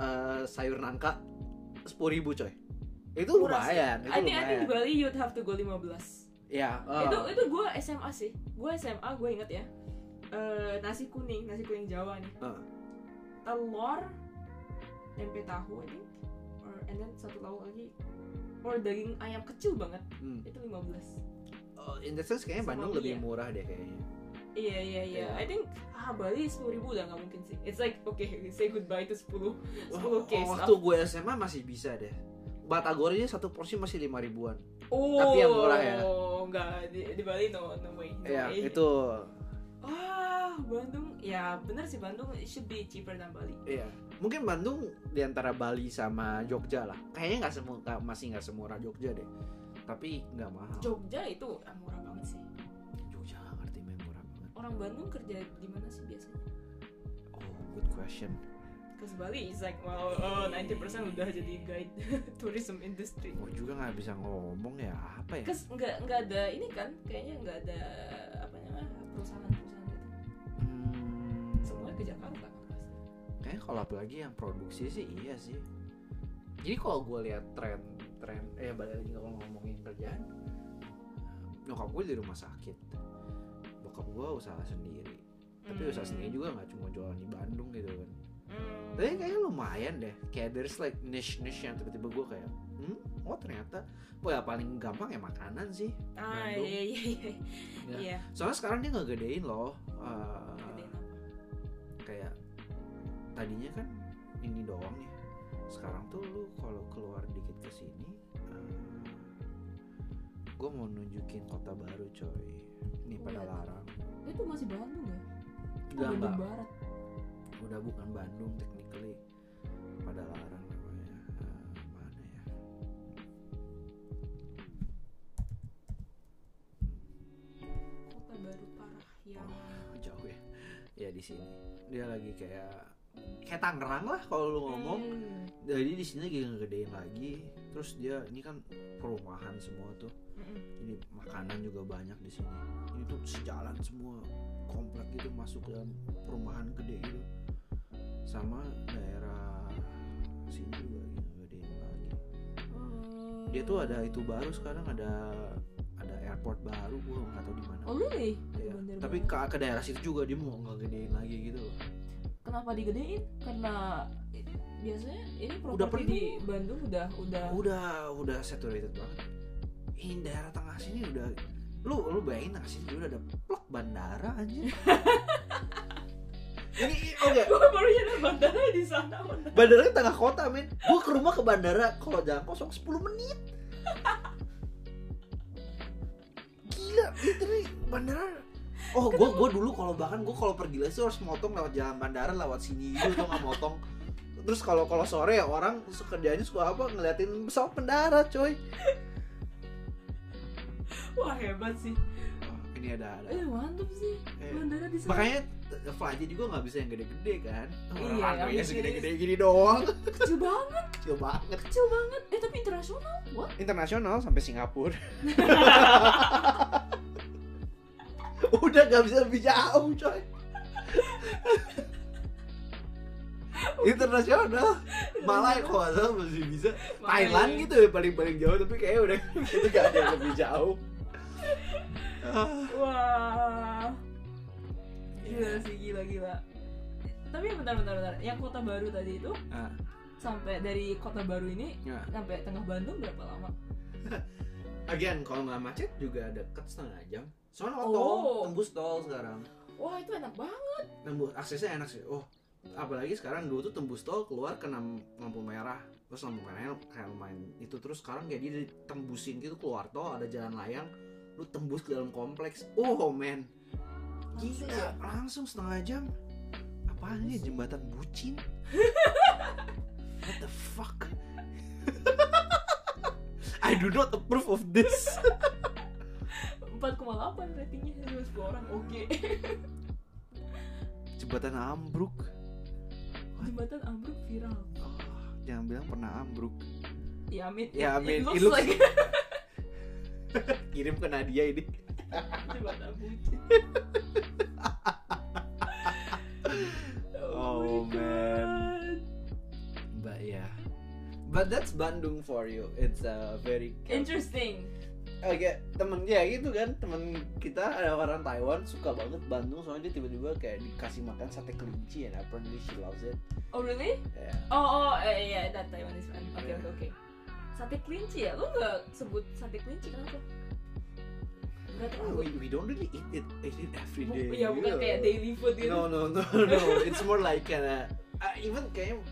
Speaker 2: eh, sayur nangka sepuluh ribu coy itu
Speaker 1: Murah sih.
Speaker 2: lumayan itu
Speaker 1: I think, I think
Speaker 2: lumayan
Speaker 1: di Bali you'd have to go 15
Speaker 2: ya
Speaker 1: itu
Speaker 2: eh,
Speaker 1: itu gue SMA sih gue SMA gue inget ya Eh, nasi kuning nasi kuning Jawa nih
Speaker 2: Heeh.
Speaker 1: telur tempe tahu ini or and then satu lauk lagi or daging ayam kecil banget
Speaker 2: hmm.
Speaker 1: itu 15
Speaker 2: Eh, in the sense kayaknya
Speaker 1: Sama
Speaker 2: Bandung
Speaker 1: mie
Speaker 2: lebih
Speaker 1: ya.
Speaker 2: murah deh kayaknya
Speaker 1: iya iya iya
Speaker 2: Iya.
Speaker 1: I think ah Bali 10.000 ribu udah nggak mungkin sih it's like okay say goodbye to 10
Speaker 2: Wah,
Speaker 1: 10 case
Speaker 2: Oh, waktu gue SMA masih bisa deh Batagor aja satu porsi masih lima ribuan
Speaker 1: oh
Speaker 2: tapi yang murah ya.
Speaker 1: nggak di, di Bali no no way no
Speaker 2: ya
Speaker 1: way.
Speaker 2: itu
Speaker 1: wah Bandung ya bener sih Bandung it should be cheaper than Bali
Speaker 2: iya mungkin Bandung di antara Bali sama Jogja lah kayaknya nggak semua nggak- masih nggak semurah Jogja deh tapi nggak mahal
Speaker 1: Jogja itu ah, murah banget sih
Speaker 2: Jogja nggak ngerti men, murah banget
Speaker 1: orang Bandung kerja di mana sih biasanya?
Speaker 2: oh good question
Speaker 1: Ke Bali is like wow, oh, 90% udah jadi guide (laughs) tourism industry.
Speaker 2: gue juga nggak bisa ngomong ya apa ya
Speaker 1: Kes nggak nggak ada ini kan? Kayaknya nggak ada apa namanya perusahaan-perusahaan gitu.
Speaker 2: Hmm,
Speaker 1: Semuanya ke Jakarta kan pasti.
Speaker 2: kayaknya kalau apalagi yang produksi sih iya sih jadi kalau gue lihat tren tren eh balik lagi kalau ngomongin kerjaan eh, nyokap gue di rumah sakit bokap gue usaha sendiri tapi usaha sendiri juga nggak cuma jualan di Bandung gitu kan
Speaker 1: Hmm.
Speaker 2: tapi kayaknya lumayan deh kayak there's like niche niche yang tiba-tiba gue kayak hmm oh ternyata Wah, ya paling gampang ya makanan sih
Speaker 1: Ah
Speaker 2: Bandung.
Speaker 1: iya iya iya.
Speaker 2: Ya.
Speaker 1: Iya.
Speaker 2: soalnya sekarang dia ngegedein loh eh,
Speaker 1: Gedein apa?
Speaker 2: kayak tadinya kan ini doang ya sekarang tuh lu kalau keluar dikit ke sini eh, gue mau nunjukin kota baru coy ini
Speaker 1: Oh, iya.
Speaker 2: pada larang
Speaker 1: itu masih Bandung ya?
Speaker 2: Udah,
Speaker 1: Bandung
Speaker 2: Mbak.
Speaker 1: Barat.
Speaker 2: udah bukan Bandung technically pada larang namanya Eh, mana ya
Speaker 1: Kota baru parah yang
Speaker 2: Oh, jauh ya ya di sini dia lagi kayak kayak Tangerang lah kalau lu ngomong
Speaker 1: Hmm.
Speaker 2: jadi di sini lagi ngegedein lagi terus dia ini kan perumahan semua tuh
Speaker 1: Mm-mm.
Speaker 2: jadi makanan juga banyak di sini ini tuh sejalan semua komplek gitu masuk ke dalam perumahan gede gitu sama daerah sini juga gitu gedein lagi
Speaker 1: Hmm.
Speaker 2: dia tuh ada itu baru sekarang ada ada airport baru gua nggak tahu di mana
Speaker 1: Oh really?
Speaker 2: Iya.
Speaker 1: Bener
Speaker 2: tapi
Speaker 1: banget.
Speaker 2: ke, ke daerah situ juga dia mau nggak gedein lagi gitu loh
Speaker 1: kenapa digedein? Karena i- biasanya ini properti
Speaker 2: penuh.
Speaker 1: di Bandung udah udah
Speaker 2: udah udah saturated banget ini daerah tengah sini udah lu lu bayangin tengah sini udah ada plek bandara aja
Speaker 1: (laughs)
Speaker 2: ini oke
Speaker 1: (laughs) Gua baru nyadar bandara di sana. bener.
Speaker 2: bandaranya tengah kota men gua ke rumah ke bandara kalau jalan kosong 10 menit gila literally bandara oh gua gua dulu kalau bahkan gua kalau pergi les tuh harus motong lewat jalan bandara lewat sini gitu tuh nggak motong terus kalau kalau sore ya orang kerjanya suka apa ngeliatin pesawat mendarat coy
Speaker 1: Wah hebat sih.
Speaker 2: Oh, ini ada ada
Speaker 1: Eh mantep sih
Speaker 2: Eh,
Speaker 1: bandara di sana.
Speaker 2: makanya eh, flyer juga nggak bisa yang gede-gede kan
Speaker 1: Iya,
Speaker 2: orang runway-nya
Speaker 1: iya.
Speaker 2: segede-gede gini doang
Speaker 1: kecil banget,
Speaker 2: kecil banget
Speaker 1: kecil banget. Eh tapi internasional. What?
Speaker 2: internasional sampai Singapura (laughs) udah nggak bisa lebih jauh coy internasional malah kalau nggak salah masih bisa Thailand gitu ya paling-paling jauh tapi kayaknya udah (laughs) gitu gak ada yang lebih jauh Ah,
Speaker 1: Wah. Gila sih gila gila. Tapi bentar bentar bentar. Yang kota baru tadi itu
Speaker 2: Ah.
Speaker 1: sampai dari kota baru ini
Speaker 2: Ya.
Speaker 1: sampai tengah Bandung berapa lama?
Speaker 2: Again, kalau nggak macet juga deket setengah jam. Soalnya
Speaker 1: Oh.
Speaker 2: tol, tembus tol sekarang.
Speaker 1: Wah itu enak banget.
Speaker 2: Tembus aksesnya enak sih. Oh, apalagi sekarang dulu tuh tembus tol keluar ke nam- lampu merah. Terus lampu merahnya kayak lumayan itu terus sekarang kayak dia ditembusin gitu keluar tol ada jalan layang lu tembus ke dalam kompleks. Oh man,
Speaker 1: Langsung ya?
Speaker 2: gila langsung setengah jam. Apaan ini jembatan (laughs) bucin? What the fuck? (laughs) I do not approve of this.
Speaker 1: 4,8 ratingnya dari 10 orang. Oke.
Speaker 2: jembatan ambruk
Speaker 1: Jembatan ambruk viral.
Speaker 2: Ah, jangan bilang pernah ambruk
Speaker 1: Ya amin.
Speaker 2: Ya, amin.
Speaker 1: It looks
Speaker 2: It looks-
Speaker 1: like
Speaker 2: kirim ke Nadia ini
Speaker 1: (laughs) jembatan bucin.
Speaker 2: (laughs) Oh,
Speaker 1: my
Speaker 2: man.
Speaker 1: God.
Speaker 2: but ya but that's Bandung for you it's a very
Speaker 1: Interesting.
Speaker 2: Oke, temen ya gitu kan temen kita ada orang Taiwan suka banget Bandung soalnya dia tiba-tiba kayak dikasih makan sate kelinci and apparently she loves it
Speaker 1: Oh really?
Speaker 2: ya
Speaker 1: Oh, oh eh, iya, that Taiwanese friend. Oke,
Speaker 2: Iya.
Speaker 1: oke, oke. Sate kelinci ya? Lu nggak sebut sate kelinci kenapa? Nggak tahu.
Speaker 2: we, we don't really eat it eat it every
Speaker 1: Oh, Bu-
Speaker 2: day
Speaker 1: ya bukan
Speaker 2: gitu.
Speaker 1: kayak daily food gitu.
Speaker 2: No no (laughs) no no, it's more like a, uh, even kayak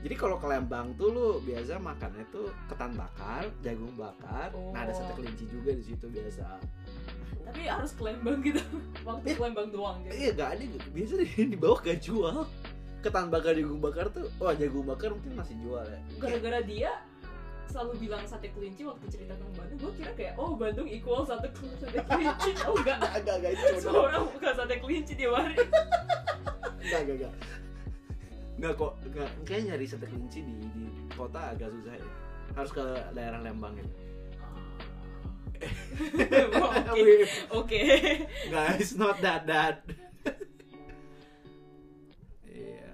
Speaker 2: jadi kalau ke Lembang tuh lu biasa makannya tuh ketan bakar, jagung bakar, nah
Speaker 1: Oh.
Speaker 2: ada sate kelinci juga di situ biasa.
Speaker 1: Tapi harus ke Lembang gitu. (laughs) Waktu ke Lembang doang gitu.
Speaker 2: Iya gak ada biasa (laughs) di, di bawah gak jual. Ketan bakar jagung bakar tuh, wah jagung bakar mungkin masih jual ya.
Speaker 1: Gara-gara dia selalu bilang sate kelinci waktu cerita tentang Bandung, gue kira kayak oh Bandung equal sate kelinci, sate kelinci. Oh enggak,
Speaker 2: Agak agak itu.
Speaker 1: semua orang bukan sate kelinci dia mari.
Speaker 2: Enggak enggak enggak. Enggak kok, enggak. Kayak nyari sate kelinci di, di kota agak susah ya. Harus ke daerah Lembang ya.
Speaker 1: Ah. (laughs) Oke,
Speaker 2: (laughs)
Speaker 1: oke.
Speaker 2: guys not that that (laughs) iya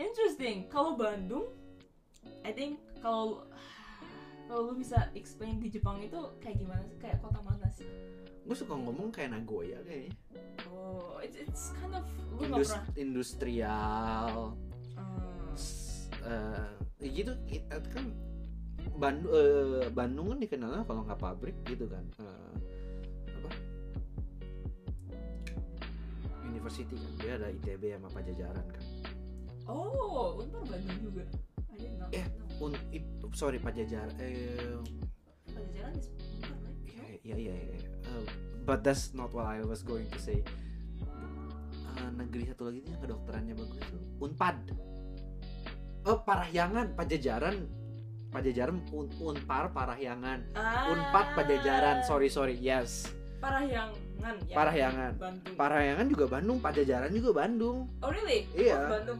Speaker 1: Interesting. Kalau Bandung, I think kalau kalau lu bisa explain di Jepang itu kayak gimana sih? Kayak kota mana sih?
Speaker 2: gue suka ngomong kayak Nagoya kayaknya
Speaker 1: Oh, it's, it's kind of lu nggak
Speaker 2: Indus-
Speaker 1: pernah.
Speaker 2: industrial
Speaker 1: Hmm.
Speaker 2: s- eh, gitu it- eh, kan Bandung eh, Bandung kan dikenalnya kalau nggak pabrik gitu kan eh, apa university kan dia ada ITB sama Pajajaran kan
Speaker 1: Oh, Unpar Bandung juga. I didn't know.
Speaker 2: Eh. Un, it- sorry Pajajaran eh
Speaker 1: Pajajaran is Unpar, right?
Speaker 2: ya Eh, but that's not what I was going to say Eh, negeri satu lagi itu yang kedokterannya bagus tuh unpad oh parahyangan pajajaran pajajaran un, unpar parahyangan
Speaker 1: Ah,
Speaker 2: unpad pajajaran sorry sorry yes
Speaker 1: Parahyangan. ya.
Speaker 2: Parahyangan.
Speaker 1: Bandung.
Speaker 2: parahyangan juga Bandung pajajaran juga Bandung
Speaker 1: oh really?
Speaker 2: Iya.
Speaker 1: Oh, Bandung.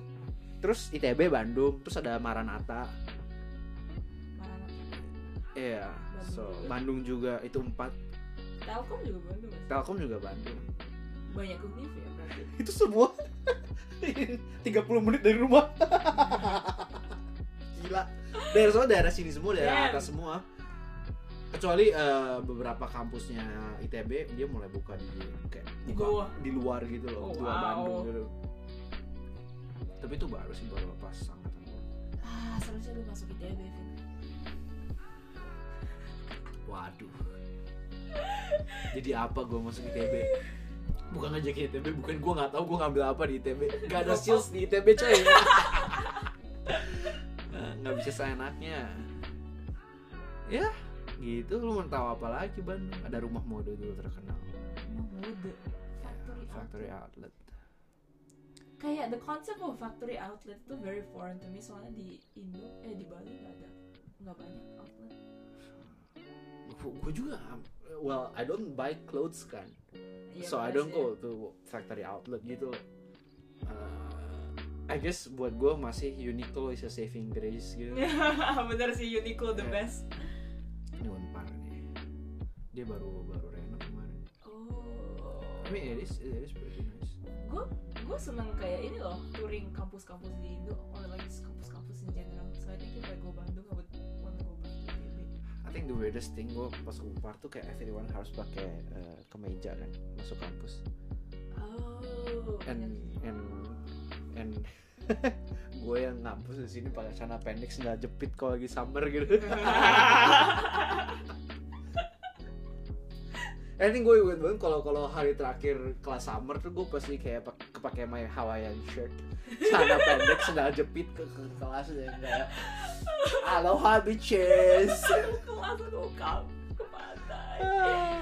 Speaker 2: terus ITB Bandung terus ada Maranata
Speaker 1: Maranatha.
Speaker 2: iya so Bandung juga itu empat
Speaker 1: Telkom juga Bandung. Mas.
Speaker 2: Telkom juga Bandung
Speaker 1: Banyak univ ya berarti.
Speaker 2: itu semua (laughs) 30 menit dari rumah gila daerah soalnya daerah sini semua daerah
Speaker 1: Damn.
Speaker 2: atas semua kecuali eh, beberapa kampusnya ITB dia mulai buka di kayak
Speaker 1: Di
Speaker 2: buka
Speaker 1: bawah.
Speaker 2: di luar gitu
Speaker 1: Oh,
Speaker 2: loh di luar
Speaker 1: wow.
Speaker 2: Bandung gitu tapi itu baru sih baru pas angkatan gua.
Speaker 1: Ah, seharusnya lu masuk ITB, Vin.
Speaker 2: waduh jadi apa gue masuk ITB bukan ngajakin ITB bukan gue nggak tahu gue ngambil apa di ITB gak ada skills di ITB coy Eh, nggak bisa seenaknya ya gitu lu mau tahu apa lagi Bandung ada rumah mode dulu terkenal
Speaker 1: Emang mode. Factory outlet.
Speaker 2: Factory Outlet
Speaker 1: Kayak the concept of factory outlet itu very foreign to me soalnya di Indo eh di Bali nggak ada nggak banyak outlet.
Speaker 2: gue juga well I don't buy clothes kan
Speaker 1: Iya,
Speaker 2: so I
Speaker 1: bener
Speaker 2: don't
Speaker 1: sih.
Speaker 2: go to factory outlet gitu. Uh, I guess buat gue masih Uniqlo is a saving grace
Speaker 1: (laughs)
Speaker 2: gitu.
Speaker 1: (laughs) Bener sih Uniqlo the
Speaker 2: Iya.
Speaker 1: best.
Speaker 2: Ini Unpar nih. Dia baru baru renov kemarin.
Speaker 1: Oh.
Speaker 2: I mean it is it is pretty nice.
Speaker 1: gue gue seneng kayak ini loh touring kampus-kampus di Indo or like just kampus-kampus in general so I think if I go Bandung I would wanna go back to ITB
Speaker 2: I think the weirdest thing gue pas Unpar tuh kayak everyone harus pakai uh, kemeja kan masuk kampus.
Speaker 1: oh
Speaker 2: And and and (laughs) gue yang ngampus di sini pakai celana pendek sendal jepit kalau lagi summer gitu. I think gue inget banget kalau kalau hari terakhir kelas summer tuh gue pasti kayak pak- kepake my Hawaiian shirt, celana pendek, sandal jepit ke, ke kelas dan kayak Aloha bitches.
Speaker 1: kelas aku kam ke pantai
Speaker 2: Ah.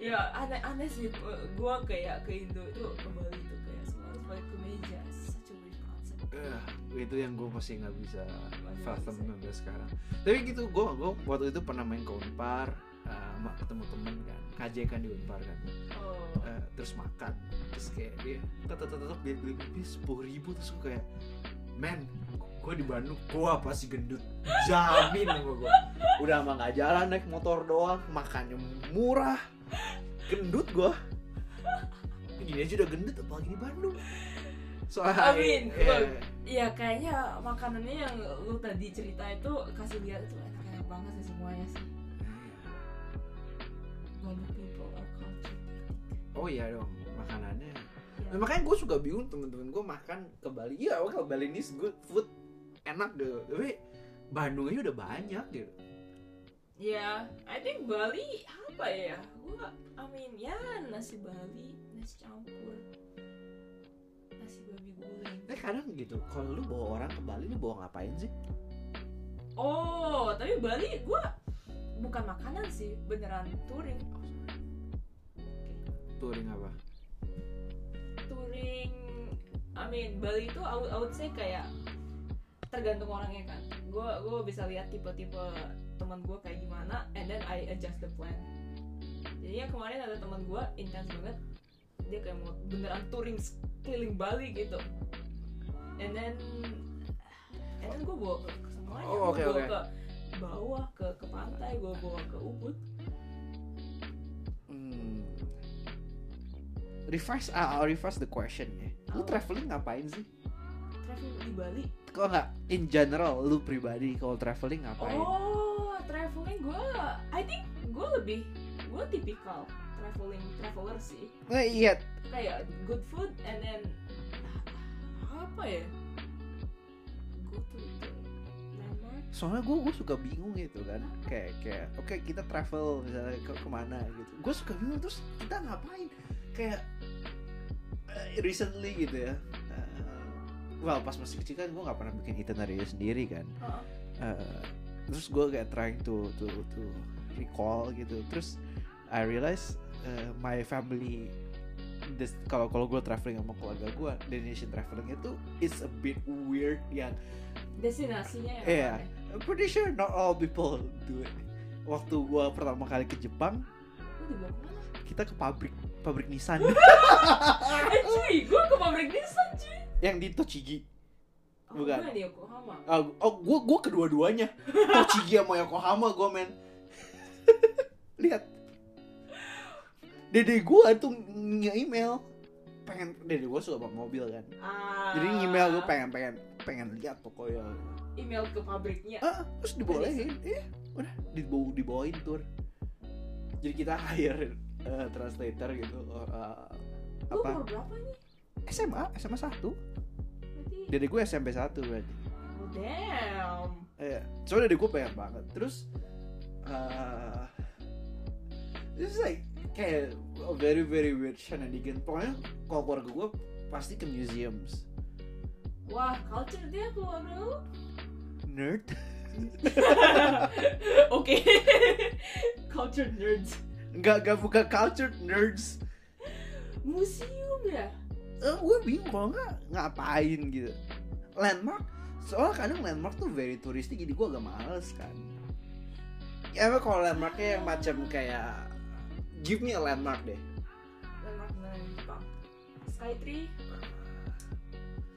Speaker 1: ya aneh-aneh sih gue kayak ke Indo itu ke Bali itu kayak semua harus pakai kemeja such a weird concept
Speaker 2: Eh, itu yang gue masih nggak bisa fathom sampai sekarang. Tapi gitu gue gue waktu itu pernah main ke Unpar, eh, ma- ketemu temen kan, KJ kan di Unpar kan.
Speaker 1: oh
Speaker 2: Eh, terus makan terus kayak dia tetep tetep dia beli beli sepuluh ribu terus gue kayak men gue di Bandung gue pasti gendut jamin sama gue udah mah nggak jalan naik motor doang makannya murah gendut gue gini aja udah gendut apalagi di Bandung soalnya
Speaker 1: Amin. Iya kayaknya makanannya yang lu tadi cerita itu kasih lihat itu enak-enak banget sih semuanya sih Bandung people are cultured
Speaker 2: oh iya dong makanannya
Speaker 1: Ya.
Speaker 2: Nah, makanya gue suka bingung temen-temen gue makan ke Bali iya oke Bali ini good food enak deh tapi Bandung aja udah banyak gitu
Speaker 1: Ya, I think Bali apa ya? Gua, I mean, ya nasi Bali, nasi campur, nasi babi goreng.
Speaker 2: tapi kadang gitu kalau lu bawa orang ke Bali lu bawa ngapain sih
Speaker 1: Oh, tapi Bali gua bukan makanan sih, beneran touring,
Speaker 2: touring apa
Speaker 1: touring. I mean, Bali itu I would, I would say kayak tergantung orangnya kan. Gua gua bisa lihat tipe-tipe teman gua kayak gimana, and then I adjust the plan. Jadi yang kemarin ada teman gua intens banget, dia kayak mau beneran touring keliling Bali gitu. And then, and then gue bawa ke ke semuanya,
Speaker 2: Oh, oke,
Speaker 1: Gua bawa
Speaker 2: oke.
Speaker 1: ke bawah, ke ke pantai, gue bawa ke Ubud.
Speaker 2: hmm. revise ah, I'll revise the question ya lu traveling ngapain sih
Speaker 1: Traveling di Bali,
Speaker 2: kok nggak in general lu pribadi kalau traveling ngapain
Speaker 1: Oh, traveling gue, I think gue lebih gue tipikal traveling traveler sih.
Speaker 2: Nah, iya
Speaker 1: Kayak good food and then apa ya? Go to the landmark.
Speaker 2: soalnya gue gue suka bingung gitu kan kayak kayak oke kita travel misalnya ke kemana gitu gue suka bingung terus kita ngapain kayak eh, recently gitu ya eh, well pas masih kecil kan gue nggak pernah bikin itinerary sendiri kan
Speaker 1: Heeh.
Speaker 2: Eh, terus gue kayak trying to to to recall gitu terus I realize eh, my family this- kalau kalau gue traveling sama keluarga gue destination traveling itu it's a bit weird yang
Speaker 1: destinasinya yang
Speaker 2: Iya.
Speaker 1: aneh.
Speaker 2: I'm pretty sure not all people do it waktu gue pertama kali ke Jepang
Speaker 1: Lu dibawa kemana?
Speaker 2: kita ke pabrik pabrik Nissan
Speaker 1: Eh cuy, gue ke pabrik Nissan cuy
Speaker 2: yang di Tochigi
Speaker 1: oh,
Speaker 2: Bukan.
Speaker 1: gua di Yokohama
Speaker 2: Ah, oh, gue gue kedua-duanya. Tochigi sama Yokohama gue men. Lihat. Dede gue tuh nge-email pengen dede gue suka banget mobil kan.
Speaker 1: ah,
Speaker 2: Jadi email gue pengen pengen pengen lihat pokoknya.
Speaker 1: email ke pabriknya
Speaker 2: Ah, terus dibolehin. Iya, udah dibawa dibawain tur. Jadi kita hire eh, translator gitu eh,
Speaker 1: Lu
Speaker 2: apa
Speaker 1: umur berapa nih?
Speaker 2: SMA SMA 1
Speaker 1: Berarti
Speaker 2: dede gue SMP 1 berarti
Speaker 1: Oh damn
Speaker 2: Iya, soalnya dari gue pengen banget. Terus, eh it's like kayak a very very weird shenanigan. Pokoknya kalau keluarga gue pasti ke museums.
Speaker 1: Wah, culture dia keluarga lu
Speaker 2: Nerd. (laughs)
Speaker 1: Oke Culture nerds
Speaker 2: Nggak nggak buka culture nerds.
Speaker 1: Museum ya?
Speaker 2: Eh, gue bingung kalau nggak ngapain gitu. Landmark. Soalnya kadang landmark tuh very touristy jadi gue agak males kan. Ya emang kalau landmarknya yang macam kayak give me a landmark deh. (laughs)
Speaker 1: Landmark beneran di Jepang Skytree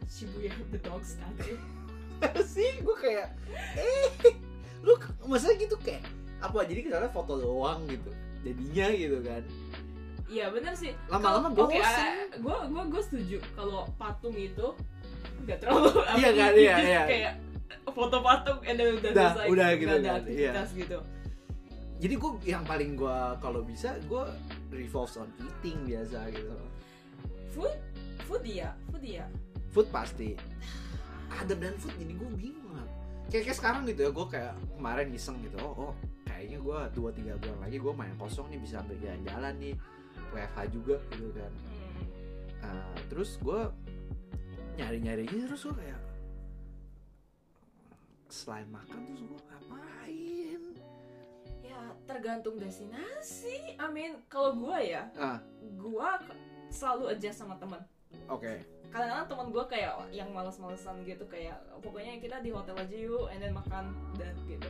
Speaker 1: Shibuya The Dog Statue
Speaker 2: sih gue kayak eh lu ke- maksudnya gitu kayak apa jadi kita foto doang gitu jadinya gitu kan
Speaker 1: Iya bener sih
Speaker 2: lama-lama
Speaker 1: Kalau- eh,
Speaker 2: bosen
Speaker 1: Gue gue gue setuju kalau patung itu nggak terlalu apa,
Speaker 2: Iya kan,
Speaker 1: just
Speaker 2: iya, iya.
Speaker 1: kayak foto patung and then udah
Speaker 2: Dah,
Speaker 1: selesai
Speaker 2: udah
Speaker 1: nggak
Speaker 2: gitu
Speaker 1: ada
Speaker 2: kan, iya.
Speaker 1: aktivitas gitu
Speaker 2: jadi gue yang paling gue kalau bisa gue revolves on eating biasa gitu
Speaker 1: food food ya food ya
Speaker 2: food pasti ada dan food jadi gue bingung lah. kayak, kayak sekarang gitu ya gue kayak kemarin iseng gitu oh, oh kayaknya gue dua tiga bulan lagi gue main kosong nih bisa ambil jalan-jalan nih WFH juga gitu kan
Speaker 1: Hmm.
Speaker 2: Nah, terus gue nyari-nyari gitu terus gue kayak selain makan terus gue ngapain
Speaker 1: ya tergantung destinasi I mean kalau gue ya
Speaker 2: Hmm. Ah.
Speaker 1: gue selalu adjust sama teman
Speaker 2: oke
Speaker 1: kadang-kadang teman gue kayak yang malas-malesan gitu kayak pokoknya kita di hotel aja yuk and then makan dan gitu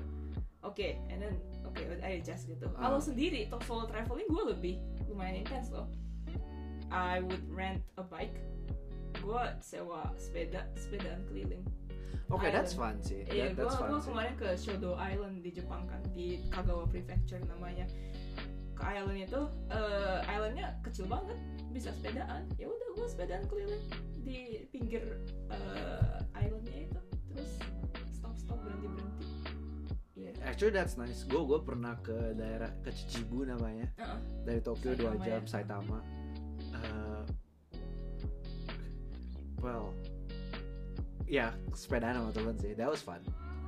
Speaker 1: oke and then oke I adjust gitu
Speaker 2: Ah.
Speaker 1: kalau sendiri to- solo traveling gue lebih lumayan intens loh I would rent a bike gue sewa sepeda sepedaan keliling
Speaker 2: oke
Speaker 1: Island.
Speaker 2: that's fun sih
Speaker 1: Iya,
Speaker 2: That-
Speaker 1: gue
Speaker 2: that's fun
Speaker 1: gue
Speaker 2: sih.
Speaker 1: kemarin ke Shodo Island di Jepang kan di Kagawa Prefecture namanya. Ke island itu, eh, islandnya kecil banget, bisa sepedaan. Ya udah gue sepedaan keliling di pinggir eh, islandnya itu, terus stop stop berhenti berhenti. Iya.
Speaker 2: actually that's nice gue gue pernah ke daerah ke Chichibu namanya
Speaker 1: Heeh.
Speaker 2: dari Tokyo dua
Speaker 1: Saitama ya.
Speaker 2: jam Saitama Eh, well ya sepedaan sama temen sih that was fun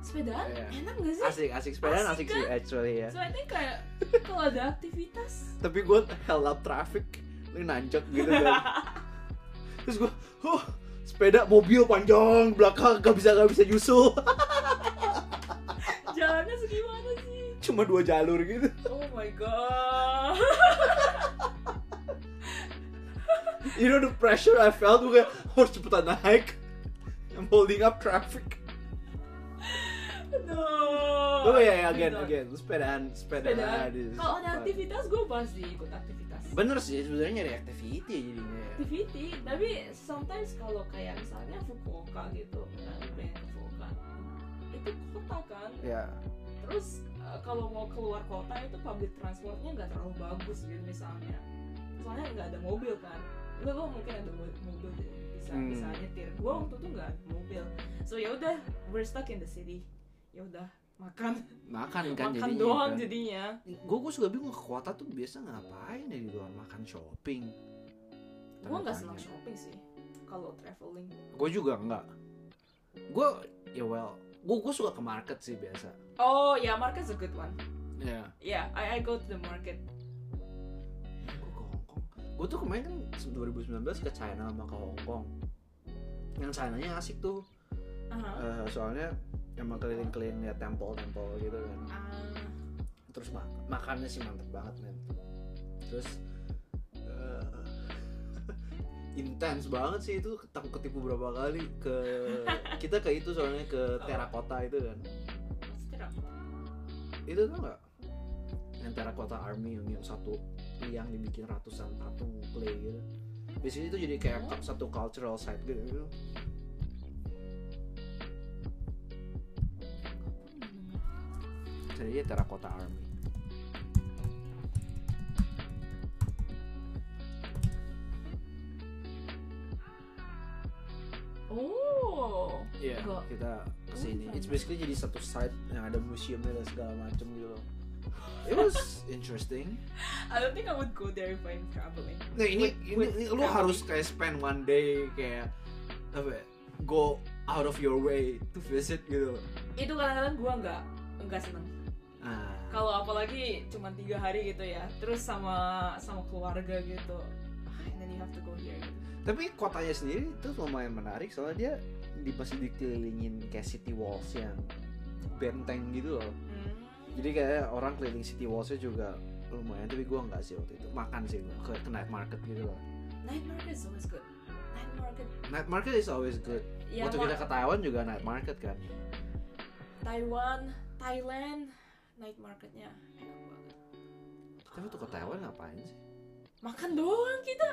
Speaker 1: Sepedaan
Speaker 2: Iya.
Speaker 1: enak gak sih?
Speaker 2: asik asik sepedaan
Speaker 1: Asik
Speaker 2: asik,
Speaker 1: kan?
Speaker 2: sih actually ya
Speaker 1: So I think kayak kalau ada aktivitas.
Speaker 2: tapi gue held up traffic ini nanjak gitu
Speaker 1: (laughs)
Speaker 2: kan terus gue huh, sepeda mobil panjang belakang gak bisa gak bisa nyusul (laughs)
Speaker 1: Jalannya segimana sih?
Speaker 2: cuma dua jalur gitu
Speaker 1: Oh my god. (laughs)
Speaker 2: you know the pressure I felt gue kayak, harus cepetan naik I'm holding up traffic
Speaker 1: No.
Speaker 2: gue ya again
Speaker 1: Tidak.
Speaker 2: again sepedaan sepedaan
Speaker 1: Gitu.
Speaker 2: is
Speaker 1: Kalau ada
Speaker 2: fun.
Speaker 1: aktivitas gue pasti ikut aktivitas.
Speaker 2: bener sih sebenarnya nyari activity jadinya ya.
Speaker 1: Activity, tapi sometimes kalau kayak misalnya Fukuoka gitu, nah, gue pengen ke Fukuoka, itu kota kan.
Speaker 2: ya
Speaker 1: Terus eh, kalau mau keluar kota itu public transportnya nggak terlalu bagus gitu misalnya, soalnya nggak ada mobil kan. Enggak gue mungkin ada mo- mobil jadi bisa
Speaker 2: Hmm.
Speaker 1: bisa nyetir. Gue waktu itu nggak ada mobil, so ya udah we're stuck in the city. Ya udah makan
Speaker 2: makan kan
Speaker 1: makan
Speaker 2: jadinya
Speaker 1: doang
Speaker 2: kan.
Speaker 1: jadinya.
Speaker 2: gue gue suka bingung ke kota tuh biasa ngapain ya di luar makan shopping
Speaker 1: Gue nggak senang
Speaker 2: Tanya-tanya.
Speaker 1: shopping sih kalau traveling.
Speaker 2: gue juga enggak gue ya well gue gue suka ke market sih biasa
Speaker 1: Oh ya, market's a good one.
Speaker 2: ya
Speaker 1: Yeah, I, I go to the market.
Speaker 2: gue ke Hongkong gue tuh kemarin kan 2019 ke China sama ke Hongkong yang Chinanya asik tuh
Speaker 1: Uh-huh.
Speaker 2: Eh, soalnya emang keliling-keliling liat temple-temple gitu kan
Speaker 1: Ah,
Speaker 2: terus mak makannya sih mantep banget men terus eh, (laughs) intens banget sih itu ketang ketipu berapa kali ke kita ke itu soalnya ke terakota itu kan
Speaker 1: Maksudnya apa?
Speaker 2: itu tau nggak yang terakota army yang, yang satu yang dibikin ratusan tato clay gitu biasanya itu jadi kayak
Speaker 1: Oh.
Speaker 2: satu cultural site gitu jadi terakota army
Speaker 1: Oh,
Speaker 2: Iya,
Speaker 1: Gua-
Speaker 2: kita kesini.
Speaker 1: Oh,
Speaker 2: It's
Speaker 1: fine.
Speaker 2: basically jadi satu site yang ada museumnya dan segala macem gitu. loh. It was interesting.
Speaker 1: I don't think I would go there if I'm traveling.
Speaker 2: Nah ini,
Speaker 1: With-
Speaker 2: ini,
Speaker 1: with
Speaker 2: ini lu
Speaker 1: family.
Speaker 2: harus kayak spend one day kayak apa? ya, Go out of your way to visit gitu. loh.
Speaker 1: Itu kadang-kadang gua nggak nggak seneng.
Speaker 2: Ah,
Speaker 1: Kalau apalagi cuma tiga hari gitu ya, terus sama sama keluarga gitu. Ah, And then you have to go here. gitu.
Speaker 2: tapi kotanya sendiri itu lumayan menarik soalnya dia di masih dikelilingin kayak city walls yang benteng gitu loh.
Speaker 1: Hmm.
Speaker 2: Jadi kayak orang keliling city wallsnya juga lumayan tapi gua nggak sih waktu itu makan sih gua ke, ke night market gitu loh
Speaker 1: Night market is always good. Night market.
Speaker 2: night market is always good
Speaker 1: Ya,
Speaker 2: Waktu
Speaker 1: ma-
Speaker 2: kita ke Taiwan juga night market kan.
Speaker 1: Taiwan, Thailand, night marketnya enak banget.
Speaker 2: Kita waktu ke Taiwan ngapain sih?
Speaker 1: Makan doang kita.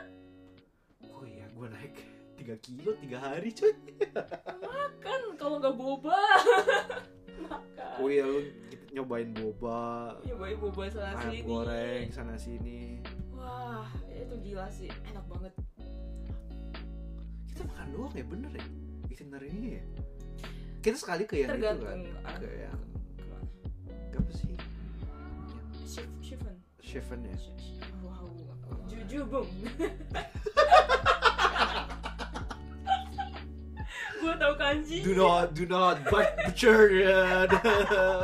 Speaker 2: Oh iya, gue
Speaker 1: (laughs)
Speaker 2: naik 3 kilo 3 hari coy.
Speaker 1: Makan Kan kalau nggak boba. (laughs) Makan.
Speaker 2: Oh iya, lu nyobain boba,
Speaker 1: Ya boy, boba sana
Speaker 2: ayam
Speaker 1: sini.
Speaker 2: goreng sana sini.
Speaker 1: Wah, itu gila sih. Enak banget.
Speaker 2: Kita makan doang ya bener ya? Itinerary ya? Kita sekali ke yang itu kan.
Speaker 1: Tergantung ah,
Speaker 2: Ke yang
Speaker 1: kemana.
Speaker 2: apa sih?
Speaker 1: Shif- Shifan.
Speaker 2: Chefen ya.
Speaker 1: Sh- sh- Wow. Jujubung. (laughs) Gua tahu kanji.
Speaker 2: Do not, do not but- butcher uh, the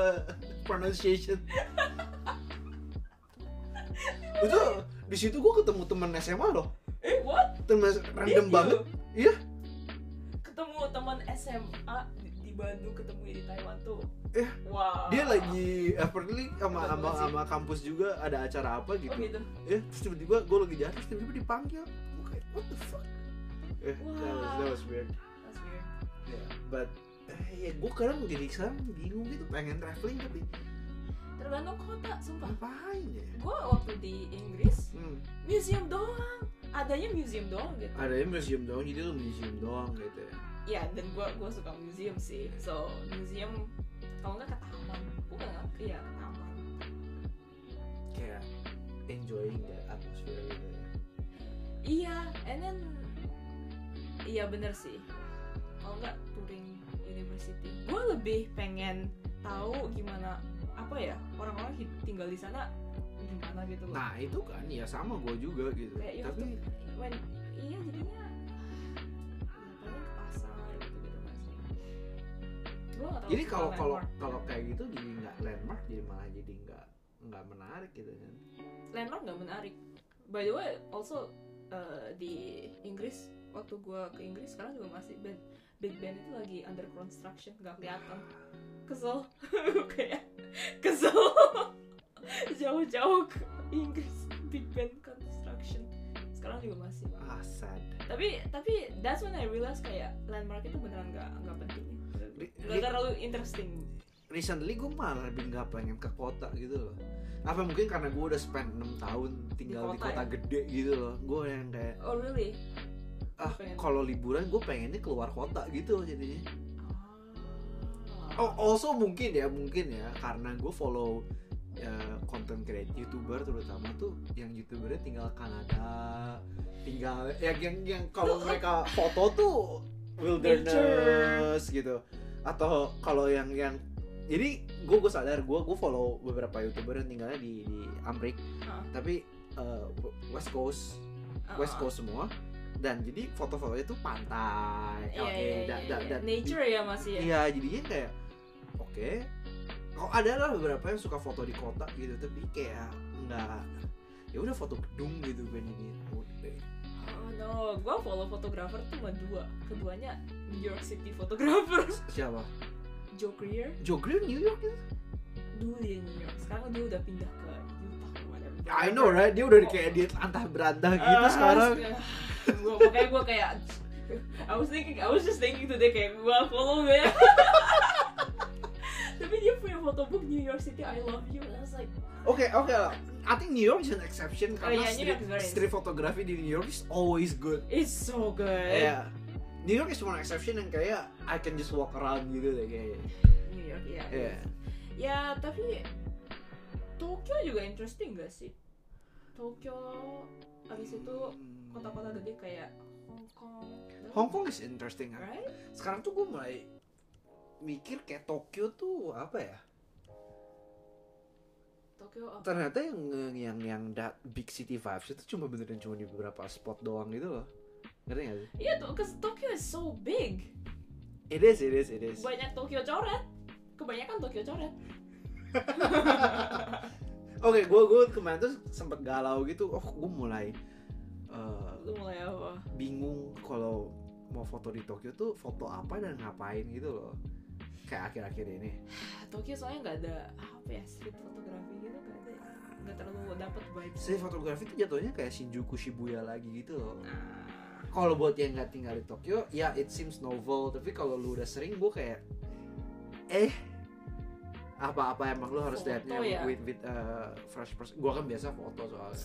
Speaker 2: (laughs) pronunciation. itu di situ gue ketemu temen SMA loh,
Speaker 1: Eh, what?
Speaker 2: temen
Speaker 1: Did
Speaker 2: random
Speaker 1: you?
Speaker 2: banget. Iya.
Speaker 1: Ketemu teman SMA di- di Bandung ketemu di Taiwan tuh.
Speaker 2: Eh,
Speaker 1: Wow.
Speaker 2: dia lagi apparently sama
Speaker 1: Betul
Speaker 2: sama
Speaker 1: sih.
Speaker 2: sama kampus juga ada acara apa
Speaker 1: Oh,
Speaker 2: gitu
Speaker 1: gitu.
Speaker 2: ya terus tiba-tiba gue lagi jalan terus tiba-tiba dipanggil Gua kayak what the fuck eh, that, was, that was weird
Speaker 1: That's weird.
Speaker 2: yeah. but eh, ya gue kadang jadi sekarang bingung gitu pengen traveling tapi
Speaker 1: Tergantung kota, sumpah.
Speaker 2: ngapain ya
Speaker 1: Gua waktu di Inggris,
Speaker 2: hmm.
Speaker 1: museum doang. Adanya museum doang gitu.
Speaker 2: adanya museum doang jadi lu museum doang gitu ya
Speaker 1: ya dan gue gue suka museum sih so museum kalau nggak ke taman gue nggak ngerti ya ke taman
Speaker 2: kayak enjoying the atmosphere gitu ya
Speaker 1: iya and then iya bener sih kalau nggak touring university gue lebih pengen tahu gimana apa ya orang-orang hid- tinggal di sana gimana gitu loh
Speaker 2: nah itu kan ya sama gue juga gitu
Speaker 1: kayak you have to-
Speaker 2: tapi
Speaker 1: when- iya jadinya ya paling ke pasar gitu gitu masih gue gitu. nggak tahu
Speaker 2: jadi kalau
Speaker 1: suka
Speaker 2: kalau
Speaker 1: landmark.
Speaker 2: kalau kayak gitu jadi nggak landmark jadi malah jadi nggak nggak menarik gitu kan
Speaker 1: landmark nggak menarik. By the way, also uh, di Inggris waktu gua ke Inggris sekarang juga masih band Big Ben itu lagi under construction nggak kelihatan. Kesel, (laughs) Gua kayak kesel. (laughs) Jauh-jauh ke Inggris Big Ben construction sekarang juga masih.
Speaker 2: ah sad
Speaker 1: Tapi tapi that's when I realize kayak landmark itu beneran nggak nggak penting.
Speaker 2: Re-
Speaker 1: Nggak terlalu interesting.
Speaker 2: recently gue malah lebih nggak pengen ke kota gitu loh apa mungkin karena gue udah spend 6 tahun tinggal di
Speaker 1: Di kota
Speaker 2: kota,
Speaker 1: ya?
Speaker 2: gede gitu loh gue yang kayak
Speaker 1: Oh really?
Speaker 2: ah
Speaker 1: Pengen.
Speaker 2: kalau liburan gue pengennya keluar kota gitu jadinya
Speaker 1: Oh.
Speaker 2: oh also mungkin ya mungkin ya karena gue follow ya, content creator youtuber terutama tuh yang youtubernya tinggal Kanada tinggal yang yang, yang
Speaker 1: (laughs)
Speaker 2: kalau mereka foto tuh wilderness gitu atau kalau yang yang jadi gue gue sadar gue gue follow beberapa youtuber yang tinggalnya di di Amrik
Speaker 1: Ah.
Speaker 2: tapi eh, West Coast
Speaker 1: Ah.
Speaker 2: West Coast semua dan jadi foto-fotonya tuh pantai
Speaker 1: Iya,
Speaker 2: oke,
Speaker 1: iya,
Speaker 2: dan-
Speaker 1: iya,
Speaker 2: dan-
Speaker 1: iya.
Speaker 2: dan di-
Speaker 1: nature ya masih ya.
Speaker 2: Iya, jadinya kayak oke. Kok ada lah beberapa yang suka foto di kota gitu, tapi kayak nggak ya udah foto gedung gitu kan ini. Udah.
Speaker 1: Oh no, gue follow fotografer tuh cuma dua. Keduanya New York City photographer
Speaker 2: Siapa?
Speaker 1: Joe Creer
Speaker 2: Joe Green New York gitu.
Speaker 1: dulu dia New York. Sekarang dia udah pindah ke Utah kemana.
Speaker 2: Ya, I know right, dia udah di- kayak di antah berantah gitu
Speaker 1: Ah,
Speaker 2: sekarang.
Speaker 1: astaga. Gua- makanya gue kayak I was thinking, I was just thinking today kayak gua follow ya. (laughs) Tapi dia punya photobook New York City I love you. And I was like,
Speaker 2: Oke oke lah. I think New York is an exception
Speaker 1: Oh,
Speaker 2: karena
Speaker 1: iya, New
Speaker 2: street,
Speaker 1: York is very
Speaker 2: street photography di New York is always good.
Speaker 1: it's so good.
Speaker 2: Kayak New York is one exception yang kayak I can just walk around gitu deh kayak.
Speaker 1: New York ya.
Speaker 2: Iya.
Speaker 1: Ya tapi Tokyo juga interesting gak sih? Tokyo habis itu kota-kota gede kayak Hong Kong.
Speaker 2: Hong Kong is interesting. ah.
Speaker 1: right?
Speaker 2: Sekarang tuh gue mulai mikir kayak Tokyo tuh apa ya?
Speaker 1: Tokyo oh. apa?
Speaker 2: Ternyata yang yang yang dat big city vibes itu cuma beneran cuma di beberapa spot doang gitu loh. Ngerti gak sih?
Speaker 1: Iya, tuh, cause Tokyo is so big.
Speaker 2: It is, it is, it is.
Speaker 1: Banyak Tokyo coret. Kebanyakan Tokyo coret.
Speaker 2: (laughs) Oke, gue gue kemarin tuh sempet galau gitu. Oh, gue mulai eh,
Speaker 1: Lu mulai apa?
Speaker 2: bingung kalau mau foto di Tokyo tuh foto apa dan ngapain gitu loh. Kayak akhir-akhir ini.
Speaker 1: Tokyo soalnya nggak ada apa ya street fotografi gitu nggak ada nggak terlalu dapat vibes
Speaker 2: Saya fotografi tuh jatuhnya kayak Shinjuku Shibuya lagi gitu loh.
Speaker 1: (laughs) nah,
Speaker 2: Kalau buat yang nggak tinggal di Tokyo, ya it seems novel. Tapi kalau lu udah sering, gue kayak eh apa-apa emang lu harus
Speaker 1: Foto
Speaker 2: lihatnya
Speaker 1: ya?
Speaker 2: with, with uh, fresh person. Gue kan biasa foto soalnya.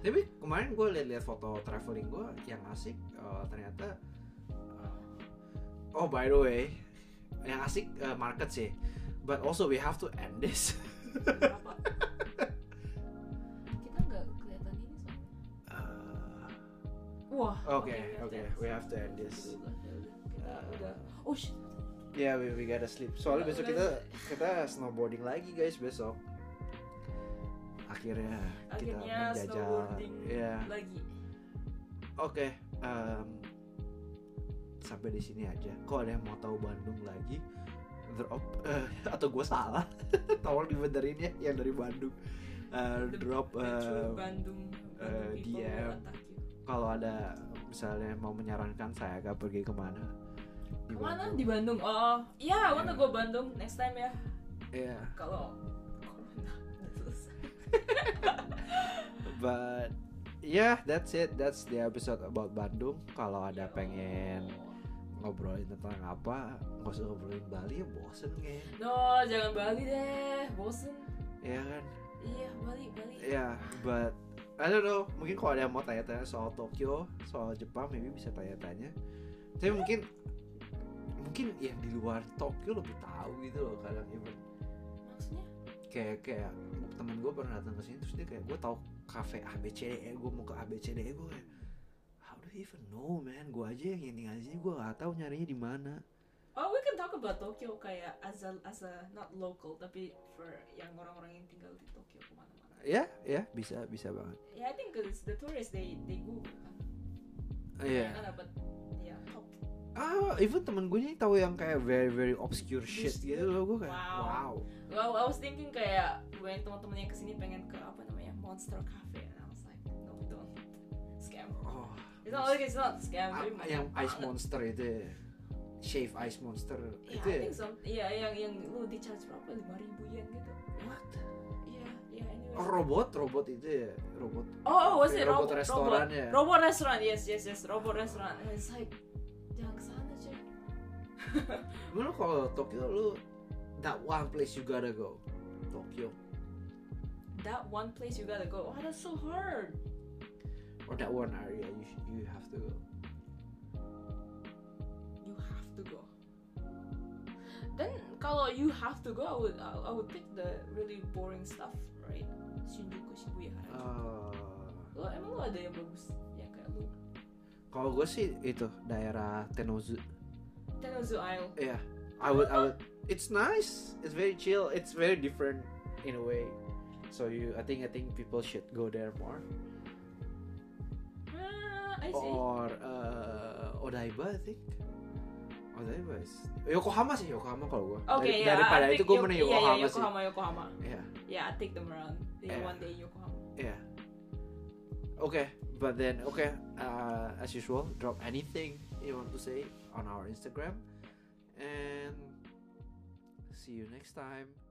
Speaker 2: Tapi kemarin gue lihat-lihat foto traveling gue yang asik eh, ternyata eh, oh by the way yang asik eh, market sih but also we have to end this (laughs)
Speaker 1: apa kita nggak kelihatan ini soalnya
Speaker 2: Eh,
Speaker 1: wah
Speaker 2: Oke,
Speaker 1: oke,
Speaker 2: oke, we have to end this.
Speaker 1: Udah, udah, udah. Kita
Speaker 2: eh,
Speaker 1: udah. oh shit
Speaker 2: Ya, we, we gotta sleep. Soalnya besok kita kita snowboarding lagi guys besok. Akhirnya kita
Speaker 1: Akhirnya
Speaker 2: menjajal.
Speaker 1: snowboarding.
Speaker 2: Ya.
Speaker 1: lagi
Speaker 2: Oke. em, sampai di sini aja. Kalau ada yang mau tahu Bandung lagi, drop eh, atau gue salah, (laughs) tolong dibenerin ya yang dari Bandung. Eh,
Speaker 1: The-
Speaker 2: drop
Speaker 1: The True
Speaker 2: em,
Speaker 1: Bandung Bandung
Speaker 2: eh,
Speaker 1: people gitu. will
Speaker 2: DM.
Speaker 1: attack you.
Speaker 2: kalau ada misalnya mau menyarankan saya agak pergi kemana? Di
Speaker 1: kemana
Speaker 2: Bandung.
Speaker 1: di Bandung oh iya yeah, wanna
Speaker 2: Ya.
Speaker 1: go Bandung next time ya
Speaker 2: Iya.
Speaker 1: kalau corona udah selesai.
Speaker 2: But yeah, that's it. That's the episode about Bandung. Kalau ada pengen
Speaker 1: Oh.
Speaker 2: ngobrolin tentang apa, nggak usah ngobrolin Bali ya bosen kayak.
Speaker 1: no jangan Bali deh bosen
Speaker 2: Ya kan?
Speaker 1: iya Bali Bali
Speaker 2: Ya, but I don't know. Mungkin kalau ada yang mau tanya-tanya soal Tokyo, soal Jepang, maybe bisa tanya-tanya. Tapi mungkin mungkin yang di luar Tokyo lebih tahu gitu loh kadang even
Speaker 1: maksudnya
Speaker 2: kayak kayak temen gue pernah datang ke sini terus dia kayak gue tahu kafe ABCDE gue E, mau ke ABCDE gue E." kayak how do you even know man gue aja yang tinggal di sini gue gak tahu nyarinya di mana
Speaker 1: Oh, we can talk about Tokyo kayak as a as a not local tapi for yang orang-orang yang tinggal di Tokyo kemana-mana.
Speaker 2: ya ya bisa bisa banget
Speaker 1: Yeah, I think 'cause it's the tourists they they Google kan.
Speaker 2: iya
Speaker 1: Kan dapat ya top.
Speaker 2: ah even temen gue nih tahu yang kayak very very obscure shit gitu loh gue kayak
Speaker 1: Wow.
Speaker 2: wow,
Speaker 1: Well, I was thinking kayak when teman-teman yang kesini pengen ke apa namanya Monster Cafe, and I was like, no, don't scam.
Speaker 2: oh
Speaker 1: It's not like it's not scam.
Speaker 2: ah,
Speaker 1: tapi mahal
Speaker 2: yang
Speaker 1: banget.
Speaker 2: ice monster itu ya. shave ice monster
Speaker 1: Yeah,
Speaker 2: itu
Speaker 1: I
Speaker 2: ya?
Speaker 1: think some, yeah, yang yang lu di charge berapa? Lima ribu yen gitu.
Speaker 2: what
Speaker 1: Yeah, yeah, anyway.
Speaker 2: Oh, robot robot itu ya robot
Speaker 1: Oh, oh, was it
Speaker 2: Kayak
Speaker 1: robot,
Speaker 2: robot
Speaker 1: robot
Speaker 2: restoran ya?
Speaker 1: Robot restoran, yes, yes, yes, robot restoran. And it's like, jangan kesana cuy.
Speaker 2: Lu kalau Tokyo lu that one place you gotta go. Tokyo
Speaker 1: That one place you gotta go. Oh, that's so hard.
Speaker 2: or that one area you sh- you have to go.
Speaker 1: You have to go. Then kalau you have to go, I would, I, I would pick the really boring stuff, right? Shinjuku, Shibuya, Harajuku.
Speaker 2: Eh,
Speaker 1: Lo emang lo ada yang bagus? Ya kayak lo.
Speaker 2: kalau gue sih itu daerah Tenozu.
Speaker 1: Tennozu Isle.
Speaker 2: Yeah, Iya. I would I would. It's nice. It's very chill. It's very different in a way. So you, I think I think people should go there more.
Speaker 1: Ah, I see.
Speaker 2: Or uh, Odaiba, I think. Odaiba is Yokohama sih Yokohama kalau gue.
Speaker 1: Oke, ya.
Speaker 2: Daripada itu gue mending Yokohama,
Speaker 1: yeah,
Speaker 2: sih. Iya.
Speaker 1: Yokohama, Yokohama.
Speaker 2: Yeah.
Speaker 1: Yeah, I take them around. Yeah,
Speaker 2: Yeah.
Speaker 1: one day Yokohama.
Speaker 2: Yeah. Okay, but then okay, uh, as usual, drop anything you want to say on our Instagram, and see you next time.